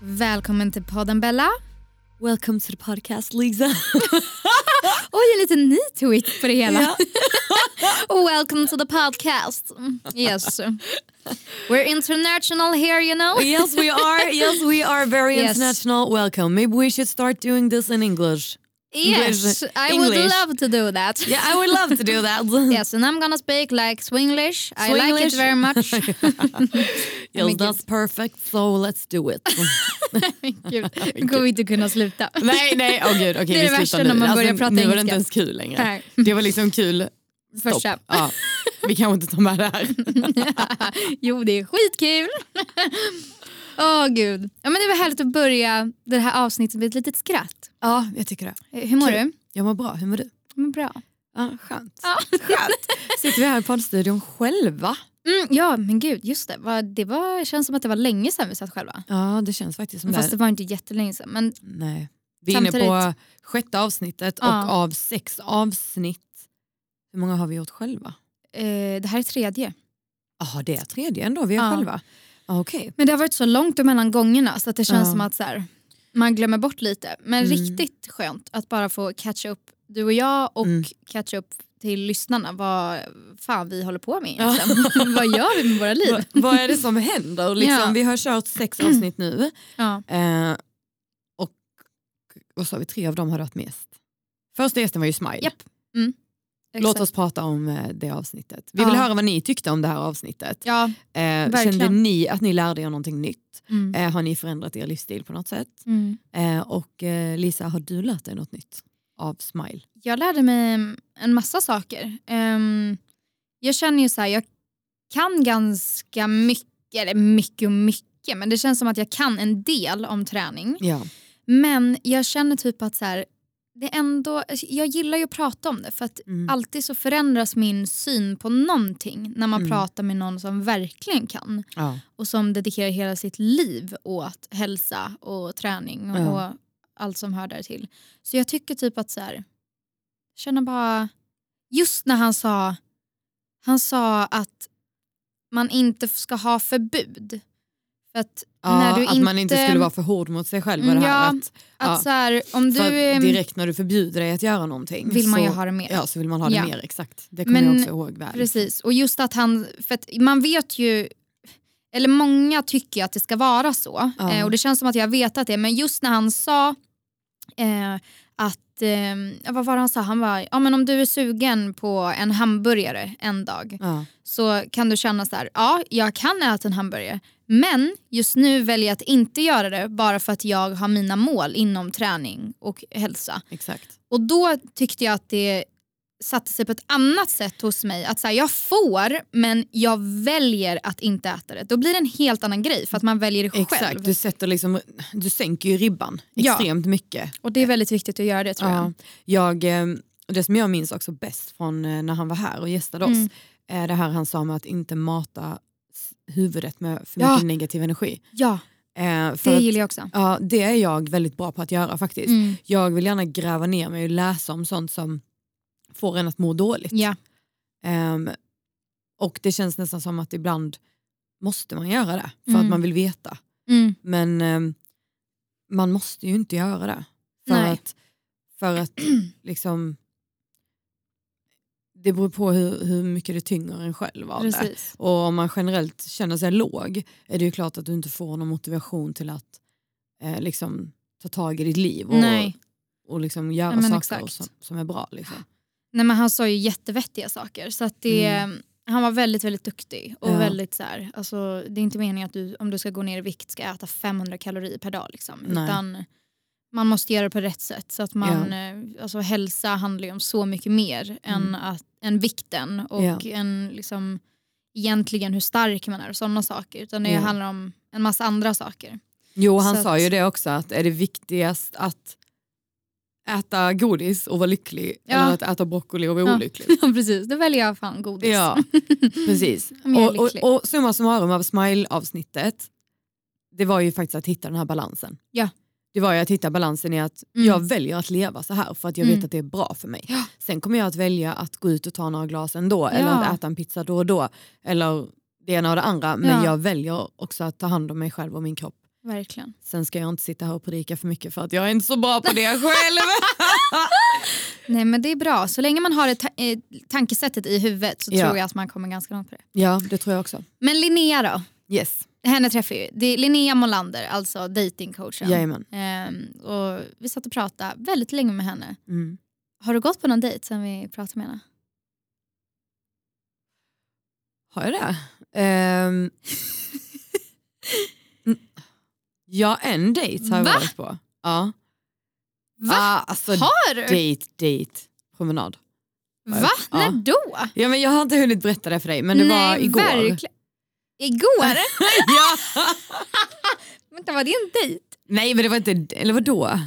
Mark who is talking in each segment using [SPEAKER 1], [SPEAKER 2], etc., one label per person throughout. [SPEAKER 1] Välkommen till podden Bella.
[SPEAKER 2] Welcome to the podcast Lisa.
[SPEAKER 1] Oj, en liten ny tweet på det hela. Welcome to the podcast. Yes. We're international here you know.
[SPEAKER 2] Oh, yes we are, yes we are very
[SPEAKER 1] Yes.
[SPEAKER 2] international. Welcome. Maybe we should start doing this in English.
[SPEAKER 1] Yes, I would
[SPEAKER 2] English.
[SPEAKER 1] love to do that.
[SPEAKER 2] Yeah, I would love to do that.
[SPEAKER 1] Yes, and I'm gonna speak like Swinglish. I like it
[SPEAKER 2] Swinglish.
[SPEAKER 1] very much.
[SPEAKER 2] yes, that's perfect. So let's do it.
[SPEAKER 1] Gud, nu kommer vi inte kunna sluta.
[SPEAKER 2] nej, nej, åh gud. Okej,
[SPEAKER 1] är
[SPEAKER 2] vi
[SPEAKER 1] det värsta
[SPEAKER 2] slutar nu.
[SPEAKER 1] när
[SPEAKER 2] Alltså,
[SPEAKER 1] man börjar prata
[SPEAKER 2] Nu var
[SPEAKER 1] engelska.
[SPEAKER 2] det inte ens kul längre.
[SPEAKER 1] Nej.
[SPEAKER 2] Det var liksom kul. Stopp.
[SPEAKER 1] Första.
[SPEAKER 2] Ja, vi kanske inte tar med det här.
[SPEAKER 1] Jo, det är skitkul. Åh gud. Ja, men det var härligt att börja det här avsnittet med ett litet skratt.
[SPEAKER 2] Ja, jag tycker det.
[SPEAKER 1] Hur mår
[SPEAKER 2] Kul.
[SPEAKER 1] du?
[SPEAKER 2] Jag mår bra, hur mår du?
[SPEAKER 1] Men bra.
[SPEAKER 2] Ja, skönt.
[SPEAKER 1] Ja.
[SPEAKER 2] skönt. Sitter vi här i poddstudion själva?
[SPEAKER 1] Mm, ja, men gud, just det. Vad- Det var, känns som att det var länge sedan vi satt själva.
[SPEAKER 2] Ja, det känns faktiskt som det.
[SPEAKER 1] Fast det var inte jättelänge sedan. Men
[SPEAKER 2] Nej. Vi är
[SPEAKER 1] Samtidigt-
[SPEAKER 2] inne på sjätte avsnittet
[SPEAKER 1] Ja.
[SPEAKER 2] och av sex avsnitt, hur många har vi gjort själva?
[SPEAKER 1] eh, det här är tredje.
[SPEAKER 2] Ja, det är tredje ändå, vi är
[SPEAKER 1] Ja.
[SPEAKER 2] själva. Ja, Okej.
[SPEAKER 1] Men det har varit så långt emellan gångerna så att det känns
[SPEAKER 2] Ja.
[SPEAKER 1] som att så här, man glömmer bort lite. Men
[SPEAKER 2] Mm.
[SPEAKER 1] riktigt skönt att bara få catch up, du och jag och
[SPEAKER 2] Mm.
[SPEAKER 1] catch up till lyssnarna vad fan vi håller på med
[SPEAKER 2] Ja.
[SPEAKER 1] egentligen. vad gör vi med våra liv?
[SPEAKER 2] Va- Vad är det som händer? Liksom,
[SPEAKER 1] Ja.
[SPEAKER 2] Vi har kört sex avsnitt nu
[SPEAKER 1] Ja.
[SPEAKER 2] eh, och vad sa vi, tre av dem har varit mest. Första gästen var ju Smile.
[SPEAKER 1] Japp, Mm.
[SPEAKER 2] Låt
[SPEAKER 1] Exakt.
[SPEAKER 2] oss prata om eh, det avsnittet. Vi vill
[SPEAKER 1] Ja.
[SPEAKER 2] höra vad ni tyckte om det här avsnittet.
[SPEAKER 1] Ja.
[SPEAKER 2] Eh, kände
[SPEAKER 1] verkligen.
[SPEAKER 2] ni att ni lärde er någonting nytt?
[SPEAKER 1] Mm.
[SPEAKER 2] Eh, har ni förändrat er livsstil på något sätt?
[SPEAKER 1] Mm.
[SPEAKER 2] Eh, och eh, Lisa, har du lärt dig något nytt av Smile?
[SPEAKER 1] jag lärde mig en massa saker. Ehm, jag känner ju så här, jag kan ganska mycket, eller mycket och mycket, men det känns som att jag kan en del om träning.
[SPEAKER 2] Ja.
[SPEAKER 1] Men jag känner typ att så här, det är ändå, jag gillar ju att prata om det för att
[SPEAKER 2] Mm.
[SPEAKER 1] alltid så förändras min syn på någonting när man
[SPEAKER 2] Mm.
[SPEAKER 1] pratar med någon som verkligen kan
[SPEAKER 2] ja.
[SPEAKER 1] och som dedikerar hela sitt liv åt hälsa och träning och,
[SPEAKER 2] Ja.
[SPEAKER 1] och allt som hör där till. Så jag tycker typ att så här, känner bara, just när han sa, han sa att man inte f- ska ha förbud. För att när du Mm,
[SPEAKER 2] att man inte skulle vara för hård mot sig själv. Var det här,
[SPEAKER 1] Ja,
[SPEAKER 2] att,
[SPEAKER 1] att
[SPEAKER 2] ja,
[SPEAKER 1] så här, om du
[SPEAKER 2] för
[SPEAKER 1] eh,
[SPEAKER 2] att direkt när du förbjuder dig att göra någonting
[SPEAKER 1] vill man
[SPEAKER 2] så,
[SPEAKER 1] ju ha det mer.
[SPEAKER 2] Ja, så vill man ha det
[SPEAKER 1] Ja.
[SPEAKER 2] mer. Exakt. Det kommer jag
[SPEAKER 1] Men-
[SPEAKER 2] också ihåg väl.
[SPEAKER 1] Precis, och just att han, för att man vet ju, eller många tycker ju att det ska vara så
[SPEAKER 2] Ja.
[SPEAKER 1] eh, och det känns som att jag har vetat det men just när han sa eh, att, eh, ja, vad var det han sa, han var, ja men om du är sugen på en hamburgare en dag
[SPEAKER 2] Ja.
[SPEAKER 1] så kan du känna så här, ja jag kan äta en hamburgare men just nu väljer jag att inte göra det bara för att jag har mina mål inom träning och hälsa.
[SPEAKER 2] Exakt.
[SPEAKER 1] Och då tyckte jag att det satte sig på ett annat sätt hos mig. Att så här, jag får men jag väljer att inte äta det. Då blir det en helt annan grej för att man väljer det själv.
[SPEAKER 2] Exakt. Du, sätter liksom, du sänker ju ribban
[SPEAKER 1] Ja.
[SPEAKER 2] extremt mycket.
[SPEAKER 1] Och det är väldigt viktigt att göra det tror jag.
[SPEAKER 2] Ja. Jag, eh, det som jag minns också bäst från eh, när han var här och gästade
[SPEAKER 1] Mm.
[SPEAKER 2] oss är det här han sa med att inte mata s- huvudet med för
[SPEAKER 1] Ja.
[SPEAKER 2] mycket negativ energi.
[SPEAKER 1] Ja,
[SPEAKER 2] Eh, för
[SPEAKER 1] det
[SPEAKER 2] att-
[SPEAKER 1] gillar jag också.
[SPEAKER 2] Ja, det är jag väldigt bra på att göra faktiskt.
[SPEAKER 1] Mm.
[SPEAKER 2] Jag vill gärna gräva ner mig och läsa om sånt som får en att må dåligt.
[SPEAKER 1] Ja.
[SPEAKER 2] Ehm, och det känns nästan som att ibland måste man göra det för
[SPEAKER 1] Mm.
[SPEAKER 2] att man vill veta.
[SPEAKER 1] Mm.
[SPEAKER 2] Men ehm, man måste ju inte göra det. För
[SPEAKER 1] Nej.
[SPEAKER 2] att, för att liksom det beror på hur, hur mycket det tynger en själv av det.
[SPEAKER 1] Precis.
[SPEAKER 2] Och om man generellt känner sig låg är det ju klart att du inte får någon motivation till att eh, liksom, ta tag i ditt liv och,
[SPEAKER 1] Nej.
[SPEAKER 2] och liksom göra
[SPEAKER 1] Ja, men
[SPEAKER 2] saker
[SPEAKER 1] exakt.
[SPEAKER 2] som, som är bra. Liksom.
[SPEAKER 1] Nej, men han sa ju jättevettiga saker. Så att det, Han var väldigt väldigt duktig. Och
[SPEAKER 2] Mm. Ja.
[SPEAKER 1] väldigt så här, alltså, Det är inte meningen att du om du ska gå ner i vikt ska äta 500 kalorier per dag. Liksom,
[SPEAKER 2] Nej.
[SPEAKER 1] utan man måste göra det på rätt sätt. Så att man, eh, alltså, hälsa handlar ju om så mycket mer än,
[SPEAKER 2] Mm.
[SPEAKER 1] att, än vikten och
[SPEAKER 2] Ja.
[SPEAKER 1] en, liksom, egentligen hur stark man är och sådana saker. Utan det
[SPEAKER 2] Ja.
[SPEAKER 1] handlar om en massa andra saker.
[SPEAKER 2] Jo, han
[SPEAKER 1] Så
[SPEAKER 2] sa
[SPEAKER 1] att-
[SPEAKER 2] ju det också, att är det viktigast att äta godis och vara lycklig
[SPEAKER 1] Ja.
[SPEAKER 2] eller att äta broccoli och vara
[SPEAKER 1] Ja.
[SPEAKER 2] olycklig?
[SPEAKER 1] Precis, då väljer jag fan godis.
[SPEAKER 2] Ja, precis.
[SPEAKER 1] Men jag är
[SPEAKER 2] Och, och,
[SPEAKER 1] lycklig.
[SPEAKER 2] och summa summarum av smile-avsnittet, det var ju faktiskt att hitta den här balansen.
[SPEAKER 1] Ja.
[SPEAKER 2] Det var ju att hitta balansen i att
[SPEAKER 1] Mm.
[SPEAKER 2] jag väljer att leva så här för att jag
[SPEAKER 1] Mm.
[SPEAKER 2] vet att det är bra för mig. Sen kommer jag att välja att gå ut och ta några glas ändå eller
[SPEAKER 1] Ja.
[SPEAKER 2] att äta en pizza då och då. Eller det ena och det andra. Men
[SPEAKER 1] Ja.
[SPEAKER 2] jag väljer också att ta hand om mig själv och min kropp
[SPEAKER 1] Verkligen.
[SPEAKER 2] Sen ska jag inte sitta här och predika för mycket för att jag är inte så bra på det själv.
[SPEAKER 1] Nej men det är bra, så länge man har det ta- eh, tankesättet i huvudet så
[SPEAKER 2] Ja.
[SPEAKER 1] tror jag att man kommer ganska långt på det.
[SPEAKER 2] ja, det tror jag också.
[SPEAKER 1] Men Linnea då?
[SPEAKER 2] Yes.
[SPEAKER 1] Henne träffar jag ju. Det är Linnea Molander, alltså datingcoachen.
[SPEAKER 2] Jajamän.
[SPEAKER 1] Ehm, och vi satt och pratade väldigt länge med henne.
[SPEAKER 2] Mm.
[SPEAKER 1] Har du gått på någon dejt sen vi pratade med henne?
[SPEAKER 2] Har jag det? Ehm. Mm. ja, en dejt har jag
[SPEAKER 1] Va?
[SPEAKER 2] varit på. Ja.
[SPEAKER 1] Va?
[SPEAKER 2] Ah, alltså,
[SPEAKER 1] Har du?
[SPEAKER 2] dejt, dejt, promenad.
[SPEAKER 1] Va?
[SPEAKER 2] Ja.
[SPEAKER 1] När då?
[SPEAKER 2] Ja, men jag har inte hunnit berätta det för dig, men det var igår.
[SPEAKER 1] verkligen. Igår?
[SPEAKER 2] ja.
[SPEAKER 1] Vänta, var det en dejt?
[SPEAKER 2] Nej, men det var inte... Eller vadå?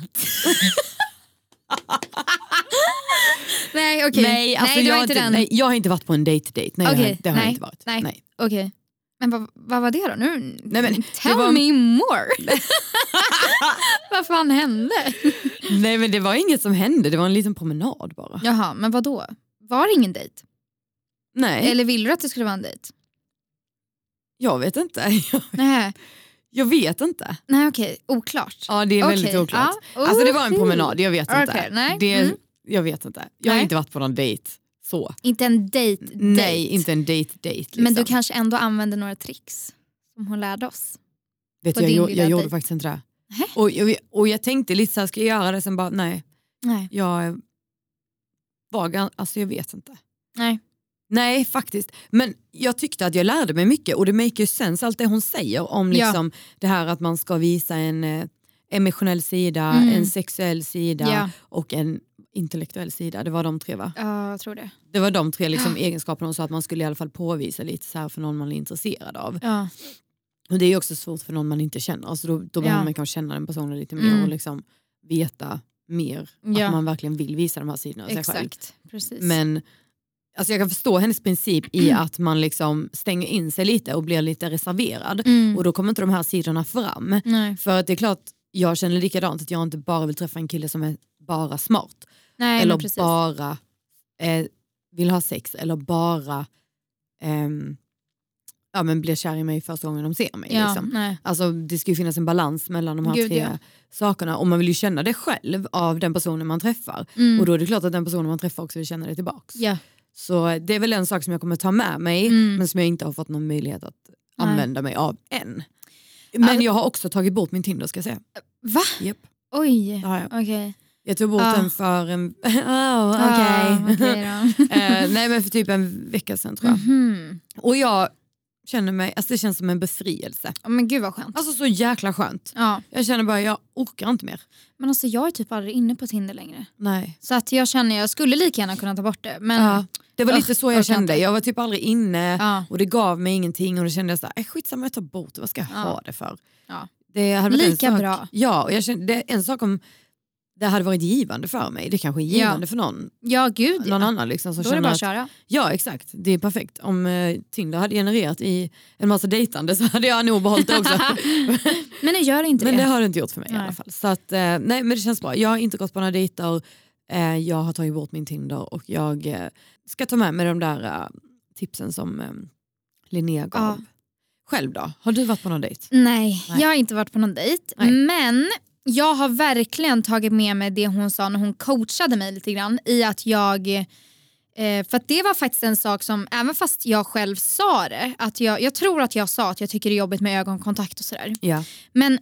[SPEAKER 1] Nej, okej.
[SPEAKER 2] Nej, alltså
[SPEAKER 1] nej, det
[SPEAKER 2] jag,
[SPEAKER 1] var
[SPEAKER 2] har
[SPEAKER 1] inte den.
[SPEAKER 2] nej, jag har inte varit på en date-date. Nej, det, har,
[SPEAKER 1] Okej,
[SPEAKER 2] jag- det har jag
[SPEAKER 1] nej,
[SPEAKER 2] inte varit.
[SPEAKER 1] nej. Okej. Men vad, vad var det då? Nu,
[SPEAKER 2] Nej, men det
[SPEAKER 1] tell
[SPEAKER 2] var-
[SPEAKER 1] me more. vad fan hände?
[SPEAKER 2] Nej, men det var inget som hände. Det var en liten promenad bara.
[SPEAKER 1] Jaha, men vad då? Var det ingen dejt?
[SPEAKER 2] Nej,
[SPEAKER 1] Eller ville du att det skulle vara en dejt?
[SPEAKER 2] jag vet inte.
[SPEAKER 1] Nej,
[SPEAKER 2] Jag vet inte.
[SPEAKER 1] nej okej, oklart.
[SPEAKER 2] Ja, det är
[SPEAKER 1] Okej,
[SPEAKER 2] väldigt oklart.
[SPEAKER 1] ja.
[SPEAKER 2] Alltså det var en
[SPEAKER 1] Oho.
[SPEAKER 2] promenad, jag vet inte.
[SPEAKER 1] Okej, nej,
[SPEAKER 2] Det,
[SPEAKER 1] mm.
[SPEAKER 2] Jag vet inte. Jag har
[SPEAKER 1] Nej.
[SPEAKER 2] inte varit på någon dejt. Så.
[SPEAKER 1] Inte en dejt,
[SPEAKER 2] Nej,
[SPEAKER 1] dejt.
[SPEAKER 2] inte en date-date. Liksom.
[SPEAKER 1] Men du kanske ändå använder några tricks som hon lärde oss.
[SPEAKER 2] vet
[SPEAKER 1] på
[SPEAKER 2] du, jag,
[SPEAKER 1] din
[SPEAKER 2] jag,
[SPEAKER 1] lilla
[SPEAKER 2] jag gjorde
[SPEAKER 1] dejt.
[SPEAKER 2] faktiskt inte det.
[SPEAKER 1] Nähä.
[SPEAKER 2] Och, jag- och jag tänkte lite så här, ska jag göra det? Sen bara, nej.
[SPEAKER 1] Nej.
[SPEAKER 2] Jag var gan- alltså jag vet inte.
[SPEAKER 1] Nej.
[SPEAKER 2] Nej faktiskt, men jag tyckte att jag lärde mig mycket och det make ju sense allt det hon säger om
[SPEAKER 1] Ja.
[SPEAKER 2] liksom det här att man ska visa en eh, emotionell sida,
[SPEAKER 1] Mm.
[SPEAKER 2] en sexuell sida
[SPEAKER 1] Ja.
[SPEAKER 2] och en intellektuell sida. Det var de tre va?
[SPEAKER 1] Ja, jag tror det.
[SPEAKER 2] Det var de tre liksom egenskaperna hon sa att man skulle i alla fall påvisa lite så här för någon man är intresserad av.
[SPEAKER 1] Ja.
[SPEAKER 2] Och det är ju också svårt för någon man inte känner, alltså då, då behöver man kanske känna den personen lite mer
[SPEAKER 1] Mm.
[SPEAKER 2] och liksom veta mer
[SPEAKER 1] Ja.
[SPEAKER 2] att man verkligen vill visa de här sidorna av sig själv.
[SPEAKER 1] Exakt, precis.
[SPEAKER 2] Men alltså jag kan förstå hennes princip i
[SPEAKER 1] Mm.
[SPEAKER 2] att man liksom stänger in sig lite och blir lite reserverad.
[SPEAKER 1] mm.
[SPEAKER 2] Och då kommer inte de här sidorna fram.
[SPEAKER 1] Nej.
[SPEAKER 2] För att det är klart, jag känner likadant att jag inte bara vill träffa en kille som är bara smart.
[SPEAKER 1] Nej, men
[SPEAKER 2] eller
[SPEAKER 1] precis.
[SPEAKER 2] bara eh, vill ha sex eller bara ehm, ja, men blir kär i mig första gången de ser mig.
[SPEAKER 1] ja,
[SPEAKER 2] Liksom.
[SPEAKER 1] nej.
[SPEAKER 2] Alltså, det ska ju finnas en balans mellan de här
[SPEAKER 1] Gud,
[SPEAKER 2] tre
[SPEAKER 1] ja.
[SPEAKER 2] sakerna och man vill ju känna det själv av den personen man träffar.
[SPEAKER 1] Mm.
[SPEAKER 2] Och då är det klart att den personen man träffar också vill känna det tillbaks.
[SPEAKER 1] ja.
[SPEAKER 2] Så det är väl en sak som jag kommer ta med mig
[SPEAKER 1] Mm.
[SPEAKER 2] men som jag inte har fått någon möjlighet att
[SPEAKER 1] Nej.
[SPEAKER 2] använda mig av än. Men
[SPEAKER 1] Alltså-
[SPEAKER 2] jag har också tagit bort min Tinder ska jag säga.
[SPEAKER 1] Va?
[SPEAKER 2] Japp.
[SPEAKER 1] Oj,
[SPEAKER 2] Det har jag.
[SPEAKER 1] okej.
[SPEAKER 2] jag tog bort
[SPEAKER 1] Ah.
[SPEAKER 2] den för en... oh,
[SPEAKER 1] Ah,
[SPEAKER 2] okej.
[SPEAKER 1] okej då.
[SPEAKER 2] Eh, nej men för typ en vecka sedan tror jag.
[SPEAKER 1] Mhm.
[SPEAKER 2] Och jag känner mig, alltså det känns som en befrielse.
[SPEAKER 1] Ja, Men gud vad skönt.
[SPEAKER 2] Alltså så jäkla skönt.
[SPEAKER 1] Ja.
[SPEAKER 2] Jag känner bara jag orkar inte mer.
[SPEAKER 1] Men alltså jag är typ aldrig inne på Tinder längre.
[SPEAKER 2] Nej.
[SPEAKER 1] Så att jag känner jag skulle lika gärna kunna ta bort det. Men
[SPEAKER 2] Ja. Det var lite
[SPEAKER 1] Ugh,
[SPEAKER 2] så jag
[SPEAKER 1] Mm. orkar
[SPEAKER 2] kände,
[SPEAKER 1] inte.
[SPEAKER 2] jag var typ aldrig inne.
[SPEAKER 1] ja.
[SPEAKER 2] Och det gav mig ingenting och då kände jag såhär, "Äh, skitsamma jag tar bort det, vad ska jag
[SPEAKER 1] Ja.
[SPEAKER 2] ha det för?
[SPEAKER 1] Ja.
[SPEAKER 2] Det hade varit
[SPEAKER 1] Lika
[SPEAKER 2] en sak,
[SPEAKER 1] bra.
[SPEAKER 2] Ja, och jag kände, det, en sak om det hade varit givande för mig, det kanske är givande för någon,
[SPEAKER 1] ja gud ja.
[SPEAKER 2] någon annan liksom, som
[SPEAKER 1] Då är det
[SPEAKER 2] känner
[SPEAKER 1] bara
[SPEAKER 2] att,
[SPEAKER 1] att köra.
[SPEAKER 2] ja exakt, det är perfekt. Om eh, Tinder hade genererat i en massa dejtande så hade jag nog behållit det också.
[SPEAKER 1] Men det gör inte
[SPEAKER 2] men det
[SPEAKER 1] det.
[SPEAKER 2] har det inte gjort för mig i
[SPEAKER 1] Nej.
[SPEAKER 2] alla fall. Så att, eh, nej men det känns bra, jag har inte gått på några dejter, eh, jag har tagit bort min Tinder och jag eh, ska ta med mig de där eh, tipsen som eh, Linnea gav.
[SPEAKER 1] Ja.
[SPEAKER 2] Själv då? Har du varit på någon dejt?
[SPEAKER 1] Nej,
[SPEAKER 2] Nej.
[SPEAKER 1] jag har inte varit på någon dejt.
[SPEAKER 2] Nej.
[SPEAKER 1] Men jag har verkligen tagit med mig det hon sa när hon coachade mig lite grann i att jag eh, för att det var faktiskt en sak som, även fast jag själv sa det, att jag, jag tror att jag sa att jag tycker det är jobbigt med ögonkontakt och sådär.
[SPEAKER 2] Ja.
[SPEAKER 1] Men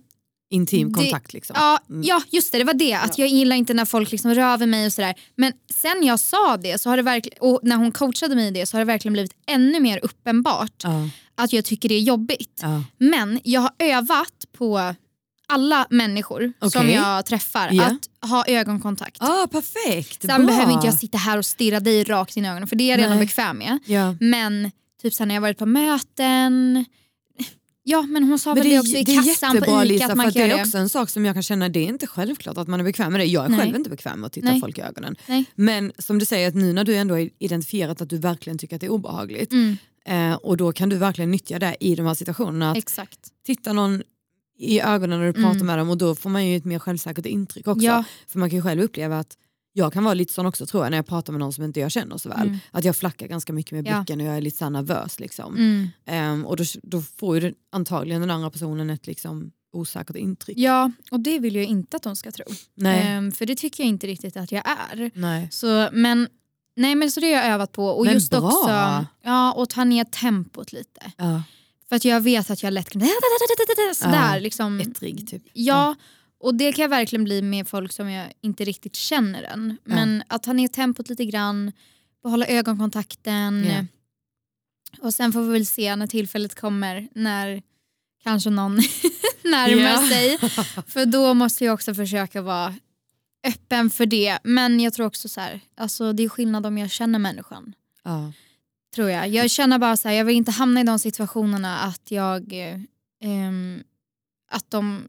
[SPEAKER 2] Intim
[SPEAKER 1] Det-
[SPEAKER 2] kontakt liksom?
[SPEAKER 1] Ja,
[SPEAKER 2] Mm.
[SPEAKER 1] ja just det, det var det. Att Jag gillar inte när folk liksom rör vid mig och sådär. Men sen jag sa det så har det verkligen, och när hon coachade mig i det så har det verkligen blivit ännu mer uppenbart
[SPEAKER 2] Ja.
[SPEAKER 1] att jag tycker det är jobbigt.
[SPEAKER 2] Ja.
[SPEAKER 1] Men jag har övat på alla människor som
[SPEAKER 2] Okej.
[SPEAKER 1] jag träffar
[SPEAKER 2] Ja.
[SPEAKER 1] att ha ögonkontakt.
[SPEAKER 2] Ah, perfekt!
[SPEAKER 1] Sen
[SPEAKER 2] Bra.
[SPEAKER 1] behöver inte jag sitta här och stirra dig rakt in i ögonen för det är jag redan
[SPEAKER 2] Nej.
[SPEAKER 1] bekväm med.
[SPEAKER 2] Ja.
[SPEAKER 1] Men typ sen när jag varit på möten, ja men hon sa väl
[SPEAKER 2] Men det,
[SPEAKER 1] det
[SPEAKER 2] är-
[SPEAKER 1] också i
[SPEAKER 2] det är
[SPEAKER 1] kassan på ICA
[SPEAKER 2] jättebra Lisa,
[SPEAKER 1] att
[SPEAKER 2] för
[SPEAKER 1] man
[SPEAKER 2] att
[SPEAKER 1] kan
[SPEAKER 2] det
[SPEAKER 1] göra
[SPEAKER 2] är
[SPEAKER 1] det.
[SPEAKER 2] också en sak som jag kan känna, det är inte självklart att man är bekväm med det. Jag är
[SPEAKER 1] Nej.
[SPEAKER 2] själv inte bekväm med att titta
[SPEAKER 1] Nej.
[SPEAKER 2] folk i ögonen.
[SPEAKER 1] Nej.
[SPEAKER 2] Men som du säger, att nu när du ändå har identifierat att du verkligen tycker att det är obehagligt
[SPEAKER 1] Mm,
[SPEAKER 2] eh, och då kan du verkligen nyttja det i de här situationerna. Att
[SPEAKER 1] exakt.
[SPEAKER 2] titta någon i ögonen när du pratar
[SPEAKER 1] Mm.
[SPEAKER 2] med dem och då får man ju ett mer självsäkert intryck också.
[SPEAKER 1] Ja.
[SPEAKER 2] För man kan ju själv uppleva att jag kan vara lite sån också tror jag när jag pratar med någon som inte jag känner så väl.
[SPEAKER 1] Mm.
[SPEAKER 2] Att jag flackar ganska mycket med
[SPEAKER 1] Ja.
[SPEAKER 2] blicken och jag är lite så här nervös. Liksom.
[SPEAKER 1] Mm.
[SPEAKER 2] Ehm, och då, då får ju den, antagligen den andra personen ett liksom osäkert intryck.
[SPEAKER 1] Ja, och det vill jag inte att de ska tro.
[SPEAKER 2] Nej.
[SPEAKER 1] Ehm, för det tycker jag inte riktigt att jag är.
[SPEAKER 2] Nej.
[SPEAKER 1] Så, men, nej, men så det har jag övat på. Och
[SPEAKER 2] Men
[SPEAKER 1] just
[SPEAKER 2] bra.
[SPEAKER 1] också ja, och ta ner tempot lite.
[SPEAKER 2] Ja.
[SPEAKER 1] För att jag vet att jag lätt kan... Sådär,
[SPEAKER 2] Ja,
[SPEAKER 1] liksom.
[SPEAKER 2] Ettrig typ.
[SPEAKER 1] Ja, och det kan jag verkligen bli med folk som jag inte riktigt känner än. Men att ta ner tempot lite grann, behålla ögonkontakten.
[SPEAKER 2] Ja.
[SPEAKER 1] Och sen får vi väl se när tillfället kommer när kanske någon närmar
[SPEAKER 2] Ja.
[SPEAKER 1] sig. För då måste jag också försöka vara öppen för det. Men jag tror också så här, alltså det är skillnad om jag känner människan.
[SPEAKER 2] Ja.
[SPEAKER 1] Tror jag. Jag känner bara så här, jag vill inte hamna i de situationerna att jag eh, ehm, att de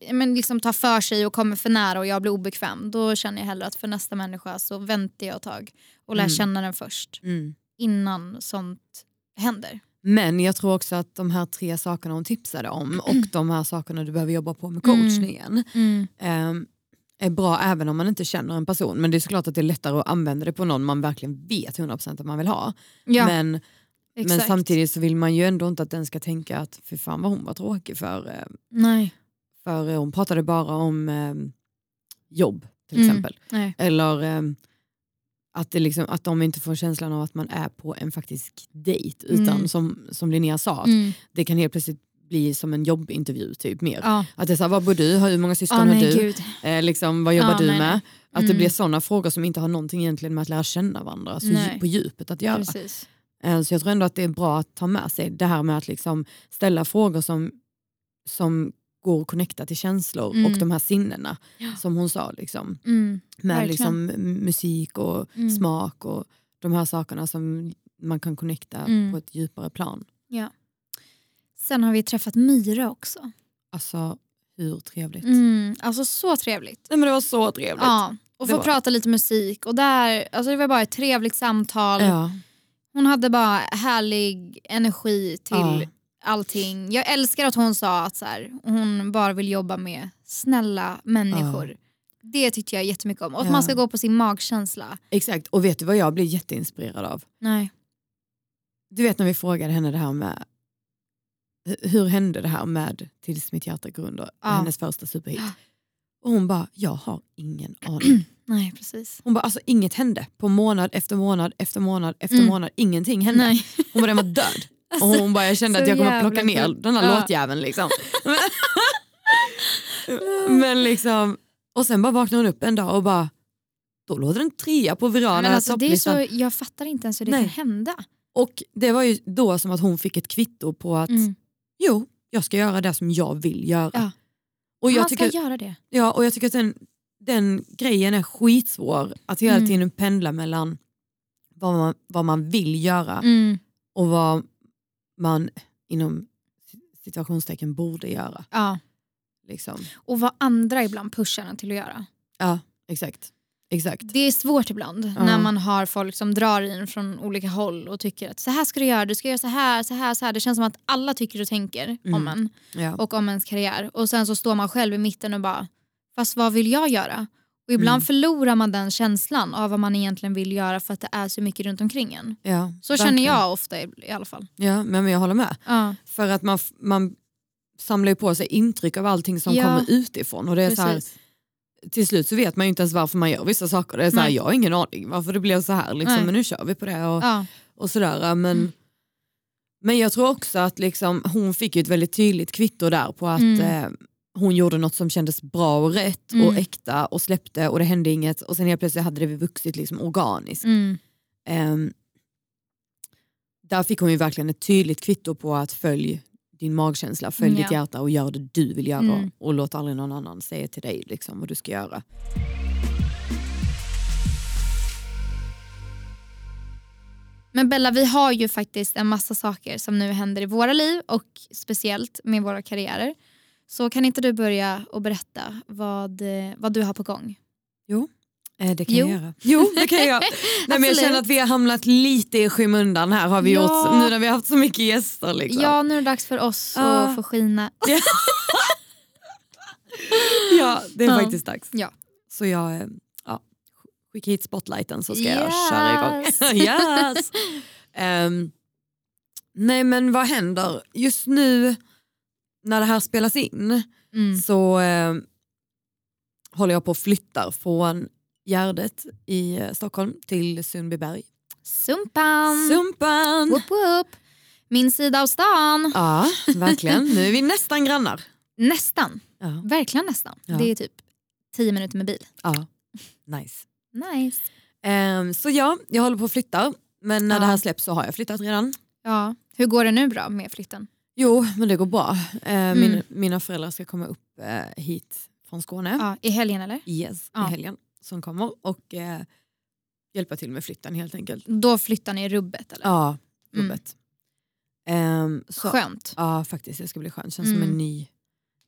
[SPEAKER 1] eh, men liksom tar för sig och kommer för nära och jag blir obekväm. Då känner jag hellre att för nästa människa så väntar jag ett tag och lär
[SPEAKER 2] Mm.
[SPEAKER 1] känna den först
[SPEAKER 2] Mm.
[SPEAKER 1] innan sånt händer.
[SPEAKER 2] Men jag tror också att de här tre sakerna hon tipsade om
[SPEAKER 1] Mm.
[SPEAKER 2] och de här sakerna du behöver jobba på med coachningen ehm, är bra även om man inte känner en person. Men det är såklart att det är lättare att använda det på någon man verkligen vet 100% att man vill ha.
[SPEAKER 1] Ja,
[SPEAKER 2] Men, men
[SPEAKER 1] exakt.
[SPEAKER 2] samtidigt så vill man ju ändå inte att den ska tänka att fy fan vad hon var tråkig för, eh,
[SPEAKER 1] Nej.
[SPEAKER 2] för eh, hon pratade bara om eh, jobb till
[SPEAKER 1] Mm.
[SPEAKER 2] exempel.
[SPEAKER 1] Nej.
[SPEAKER 2] Eller eh, att, det liksom, att de inte får känslan av att man är på en faktisk dejt. Utan
[SPEAKER 1] Mm.
[SPEAKER 2] som, som Linnea sa, att
[SPEAKER 1] Mm.
[SPEAKER 2] det kan helt plötsligt bli som en jobbintervju typ mer.
[SPEAKER 1] Ja.
[SPEAKER 2] Att det är så här, vad bor du, hur många
[SPEAKER 1] Ja,
[SPEAKER 2] syskon har
[SPEAKER 1] men
[SPEAKER 2] du,
[SPEAKER 1] gud.
[SPEAKER 2] eh, liksom, vad jobbar
[SPEAKER 1] Ja,
[SPEAKER 2] du
[SPEAKER 1] nej,
[SPEAKER 2] med?
[SPEAKER 1] nej.
[SPEAKER 2] Att det
[SPEAKER 1] Mm.
[SPEAKER 2] blir sådana frågor som inte har någonting egentligen med att lära känna varandra så
[SPEAKER 1] Nej.
[SPEAKER 2] dju- på djupet att göra.
[SPEAKER 1] Precis.
[SPEAKER 2] Eh, Så jag tror ändå att det är bra att ta med sig det här med att liksom ställa frågor som, som går att connecta till känslor
[SPEAKER 1] Mm.
[SPEAKER 2] och de här sinnena
[SPEAKER 1] Ja.
[SPEAKER 2] som hon sa. Liksom,
[SPEAKER 1] Mm.
[SPEAKER 2] med
[SPEAKER 1] Verkligen.
[SPEAKER 2] liksom m- musik och
[SPEAKER 1] Mm.
[SPEAKER 2] smak och de här sakerna som man kan connecta
[SPEAKER 1] Mm.
[SPEAKER 2] på ett djupare plan.
[SPEAKER 1] Sen har vi träffat Myra också.
[SPEAKER 2] Alltså hur trevligt.
[SPEAKER 1] Mm. Alltså så trevligt.
[SPEAKER 2] Nej, men det var så trevligt.
[SPEAKER 1] Ja, och
[SPEAKER 2] Det
[SPEAKER 1] få
[SPEAKER 2] var-
[SPEAKER 1] prata lite musik. Och där, alltså det var bara ett trevligt samtal.
[SPEAKER 2] Ja.
[SPEAKER 1] Hon hade bara härlig energi till
[SPEAKER 2] Ja.
[SPEAKER 1] allting. Jag älskar att hon sa att så här, hon bara vill jobba med snälla människor. Det tyckte jag jättemycket om. Och att
[SPEAKER 2] Ja.
[SPEAKER 1] man ska gå på sin magkänsla.
[SPEAKER 2] Exakt, och vet du vad jag blev jätteinspirerad av?
[SPEAKER 1] Nej.
[SPEAKER 2] Du vet när vi frågade henne det här med hu- hur hände det här med Tills mitt hjärta går under,
[SPEAKER 1] Ja.
[SPEAKER 2] hennes första superhit.
[SPEAKER 1] Ja.
[SPEAKER 2] Och hon bara, jag har ingen aning.
[SPEAKER 1] Nej, precis.
[SPEAKER 2] Hon bara, alltså inget hände. På månad efter månad efter månad efter
[SPEAKER 1] Mm.
[SPEAKER 2] månad, ingenting hände.
[SPEAKER 1] Nej.
[SPEAKER 2] Hon bara, den var död.
[SPEAKER 1] Alltså,
[SPEAKER 2] och hon bara, jag kände
[SPEAKER 1] så
[SPEAKER 2] att jag kommer att
[SPEAKER 1] jävla
[SPEAKER 2] plocka ner
[SPEAKER 1] sjukt.
[SPEAKER 2] den här
[SPEAKER 1] Ja.
[SPEAKER 2] låtjäveln liksom. Men liksom, och sen bara vaknade hon upp en dag och bara, då låg det en trea på virala
[SPEAKER 1] Men alltså, det är
[SPEAKER 2] topplistan.
[SPEAKER 1] så, jag fattar inte ens hur det
[SPEAKER 2] Nej.
[SPEAKER 1] kan hända.
[SPEAKER 2] Och det var ju då som att hon fick ett kvitto på att
[SPEAKER 1] Mm.
[SPEAKER 2] jo, jag ska göra det som jag vill göra.
[SPEAKER 1] Ja.
[SPEAKER 2] Och, jag
[SPEAKER 1] Man
[SPEAKER 2] tycker,
[SPEAKER 1] Mm. ska göra det.
[SPEAKER 2] ja, och jag tycker att den, den grejen är skitsvår. Att hela
[SPEAKER 1] Mm.
[SPEAKER 2] tiden pendla mellan vad man, vad man vill göra
[SPEAKER 1] Mm.
[SPEAKER 2] och vad man inom situationstecken borde göra.
[SPEAKER 1] Ja.
[SPEAKER 2] Liksom.
[SPEAKER 1] Och vad andra ibland pushar en till att göra.
[SPEAKER 2] Ja, exakt. exakt.
[SPEAKER 1] Det är svårt ibland när man har folk som drar i en från olika håll och tycker att så här ska du göra, du ska göra så här, så här, så här. Det känns som att alla tycker och tänker om
[SPEAKER 2] Mm.
[SPEAKER 1] en
[SPEAKER 2] Ja.
[SPEAKER 1] och om ens karriär. Och sen så står man själv i mitten och bara, fast vad vill jag göra? Och ibland
[SPEAKER 2] Mm.
[SPEAKER 1] förlorar man den känslan av vad man egentligen vill göra för att det är så mycket runt omkring en.
[SPEAKER 2] ja,
[SPEAKER 1] Så
[SPEAKER 2] verkligen.
[SPEAKER 1] känner jag ofta i, i alla fall.
[SPEAKER 2] Ja, men men jag håller med.
[SPEAKER 1] Ja,
[SPEAKER 2] För att man, f- man samlar ju på sig intryck av allting som
[SPEAKER 1] Ja.
[SPEAKER 2] kommer utifrån. Och det är så här,
[SPEAKER 1] precis.
[SPEAKER 2] till slut så vet man ju inte ens varför man gör vissa saker. Det är så här,
[SPEAKER 1] Nej.
[SPEAKER 2] jag har ingen aning varför det blev så här,
[SPEAKER 1] Nej.
[SPEAKER 2] liksom, men nu kör vi på det. Och,
[SPEAKER 1] Ja,
[SPEAKER 2] och sådär. Men,
[SPEAKER 1] Mm.
[SPEAKER 2] men jag tror också att liksom, hon fick ju ett väldigt tydligt kvitto där på att
[SPEAKER 1] Mm.
[SPEAKER 2] eh, hon gjorde något som kändes bra och rätt och
[SPEAKER 1] Mm.
[SPEAKER 2] äkta och släppte och det hände inget och sen helt plötsligt hade det vuxit liksom, organiskt.
[SPEAKER 1] mm,
[SPEAKER 2] Ehm, där fick hon ju verkligen ett tydligt kvitto på att följ din magkänsla, följ
[SPEAKER 1] Ja.
[SPEAKER 2] ditt hjärta och gör det du vill göra
[SPEAKER 1] Mm.
[SPEAKER 2] och låt aldrig någon annan säga till dig liksom, vad du ska göra.
[SPEAKER 1] Men Bella, vi har ju faktiskt en massa saker som nu händer i våra liv och speciellt med våra karriärer. Så kan inte du börja och berätta vad, eh, vad du har på gång?
[SPEAKER 2] Eh, det kan
[SPEAKER 1] Jo.
[SPEAKER 2] jag göra. Jo, det kan jag. göra. Nej, men jag
[SPEAKER 1] Absolut.
[SPEAKER 2] känner att vi har hamnat lite i skymundan här har vi
[SPEAKER 1] Ja.
[SPEAKER 2] gjort, nu när vi har haft så mycket gäster. Liksom.
[SPEAKER 1] Ja, nu är det dags för oss
[SPEAKER 2] Ja.
[SPEAKER 1] att få skina.
[SPEAKER 2] Ja, det är
[SPEAKER 1] Ja.
[SPEAKER 2] faktiskt dags.
[SPEAKER 1] Ja.
[SPEAKER 2] Så jag, eh, ja, skicka hit spotlighten så ska
[SPEAKER 1] Yes.
[SPEAKER 2] jag köra igång. yes. Ehm, nej men vad händer? Just nu när det här spelas in
[SPEAKER 1] Mm.
[SPEAKER 2] så eh, håller jag på och flyttar från Gärdet i eh, Stockholm till Sundbyberg.
[SPEAKER 1] Sumpan!
[SPEAKER 2] Sumpan!
[SPEAKER 1] Whoop, whoop. Min sida av stan.
[SPEAKER 2] Ja, verkligen. Nu är vi nästan grannar.
[SPEAKER 1] Nästan.
[SPEAKER 2] Ja,
[SPEAKER 1] Verkligen nästan.
[SPEAKER 2] Ja.
[SPEAKER 1] Det är typ tio minuter med bil.
[SPEAKER 2] ja. nice.
[SPEAKER 1] Nice.
[SPEAKER 2] Ehm, så ja, jag håller på och flyttar. Men när
[SPEAKER 1] Ja.
[SPEAKER 2] det här släpps så har jag flyttat redan.
[SPEAKER 1] Ja. Hur går det nu då med flytten?
[SPEAKER 2] Jo, men det går bra. Eh, min,
[SPEAKER 1] Mm.
[SPEAKER 2] Mina föräldrar ska komma upp eh, hit från Skåne
[SPEAKER 1] Ja, I helgen eller?
[SPEAKER 2] yes,
[SPEAKER 1] Ja.
[SPEAKER 2] i helgen som kommer och eh, hjälpa till med flytten helt enkelt.
[SPEAKER 1] Då flyttar ni i rubbet eller?
[SPEAKER 2] Ja,
[SPEAKER 1] Mm.
[SPEAKER 2] jobbet. Ehm, så,
[SPEAKER 1] Skönt.
[SPEAKER 2] Ja, faktiskt. Det ska bli skönt. Känns som
[SPEAKER 1] Mm.
[SPEAKER 2] en ny,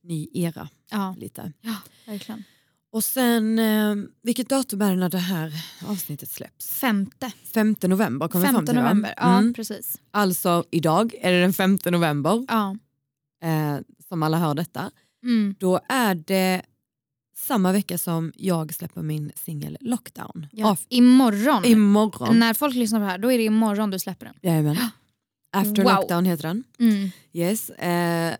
[SPEAKER 2] ny era
[SPEAKER 1] Ja,
[SPEAKER 2] lite.
[SPEAKER 1] verkligen.
[SPEAKER 2] Och sen, eh, vilket datum är det när det här avsnittet släpps?
[SPEAKER 1] Femte.
[SPEAKER 2] 5 november kom vi fram
[SPEAKER 1] 15
[SPEAKER 2] till va?
[SPEAKER 1] november. Ja,
[SPEAKER 2] Mm.
[SPEAKER 1] precis.
[SPEAKER 2] Alltså idag är det den 5 november
[SPEAKER 1] Ja.
[SPEAKER 2] eh, som alla hör detta.
[SPEAKER 1] Mm.
[SPEAKER 2] Då är det samma vecka som jag släpper min singel Lockdown.
[SPEAKER 1] ja.
[SPEAKER 2] Av,
[SPEAKER 1] Imorgon.
[SPEAKER 2] imorgon.
[SPEAKER 1] När folk lyssnar på det här då är det imorgon du släpper den.
[SPEAKER 2] Jajamän. After
[SPEAKER 1] Wow.
[SPEAKER 2] Lockdown heter den.
[SPEAKER 1] Mm.
[SPEAKER 2] Yes. Eh,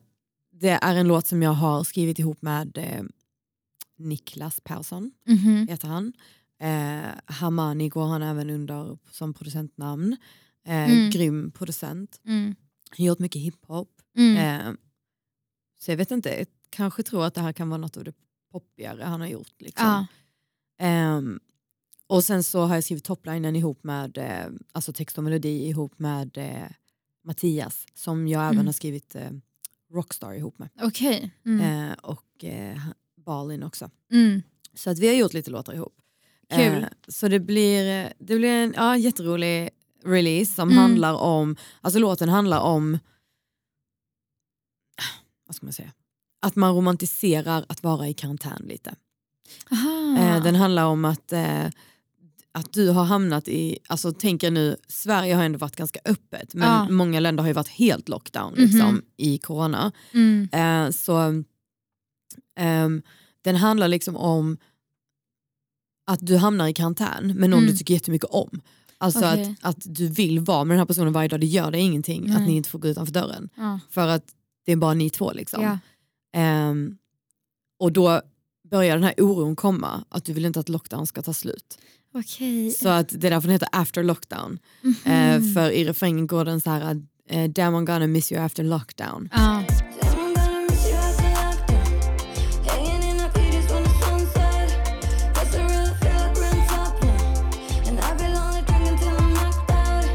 [SPEAKER 2] det är en låt som jag har skrivit ihop med eh, Niklas Persson,
[SPEAKER 1] Mhm.
[SPEAKER 2] heter han. Eh, Hamani går han även under som producentnamn. Eh,
[SPEAKER 1] Mm.
[SPEAKER 2] Grym producent.
[SPEAKER 1] Mm.
[SPEAKER 2] Han har gjort mycket hiphop.
[SPEAKER 1] Mm.
[SPEAKER 2] Eh, så jag vet inte, jag kanske tror att det här kan vara något av det poppigare han har gjort. Liksom.
[SPEAKER 1] Ja.
[SPEAKER 2] Ehm, och sen så har jag skrivit toplinen ihop med, eh, alltså text och melodi ihop med eh, Mattias som jag
[SPEAKER 1] Mm.
[SPEAKER 2] även har skrivit eh, Rockstar ihop med.
[SPEAKER 1] Okej. Mm.
[SPEAKER 2] Eh, och eh, Balin också.
[SPEAKER 1] Mm.
[SPEAKER 2] Så att vi har gjort lite låtar ihop. Eh,
[SPEAKER 1] Kul.
[SPEAKER 2] så det blir, eh, det blir en ja, jätterolig release som
[SPEAKER 1] Mm.
[SPEAKER 2] handlar om, alltså låten handlar om, vad ska man säga, att man romantiserar att vara i karantän lite.
[SPEAKER 1] Aha.
[SPEAKER 2] Eh, den handlar om att, eh, att du har hamnat i, alltså tänk er nu, Sverige har ändå varit ganska öppet men
[SPEAKER 1] Ja.
[SPEAKER 2] många länder har ju varit helt lockdown
[SPEAKER 1] Mhm.
[SPEAKER 2] liksom, i corona.
[SPEAKER 1] mm.
[SPEAKER 2] Eh, så ehm, den handlar liksom om att du hamnar i karantän med någon
[SPEAKER 1] Mm.
[SPEAKER 2] du tycker jättemycket om. Alltså
[SPEAKER 1] Okej.
[SPEAKER 2] att, att du vill vara med den här personen varje dag, det gör dig ingenting att
[SPEAKER 1] Nej.
[SPEAKER 2] ni inte får gå utanför dörren.
[SPEAKER 1] ja.
[SPEAKER 2] För att det är bara ni två liksom.
[SPEAKER 1] Ja.
[SPEAKER 2] Ehm, och då börjar den här oron komma, att du vill inte att lockdown ska ta slut.
[SPEAKER 1] Okej.
[SPEAKER 2] Så att det är därför den heter after lockdown. Eh,
[SPEAKER 1] Mhm.
[SPEAKER 2] för i refrängen går den så här, eh, damn I'm gonna miss you after lockdown.
[SPEAKER 1] Ja.
[SPEAKER 3] I'm gonna miss you after lockdown. Hanging in our PJs when the sun's set. That's a real feel like we're on top now. And I've been only drinking till I'm knocked out.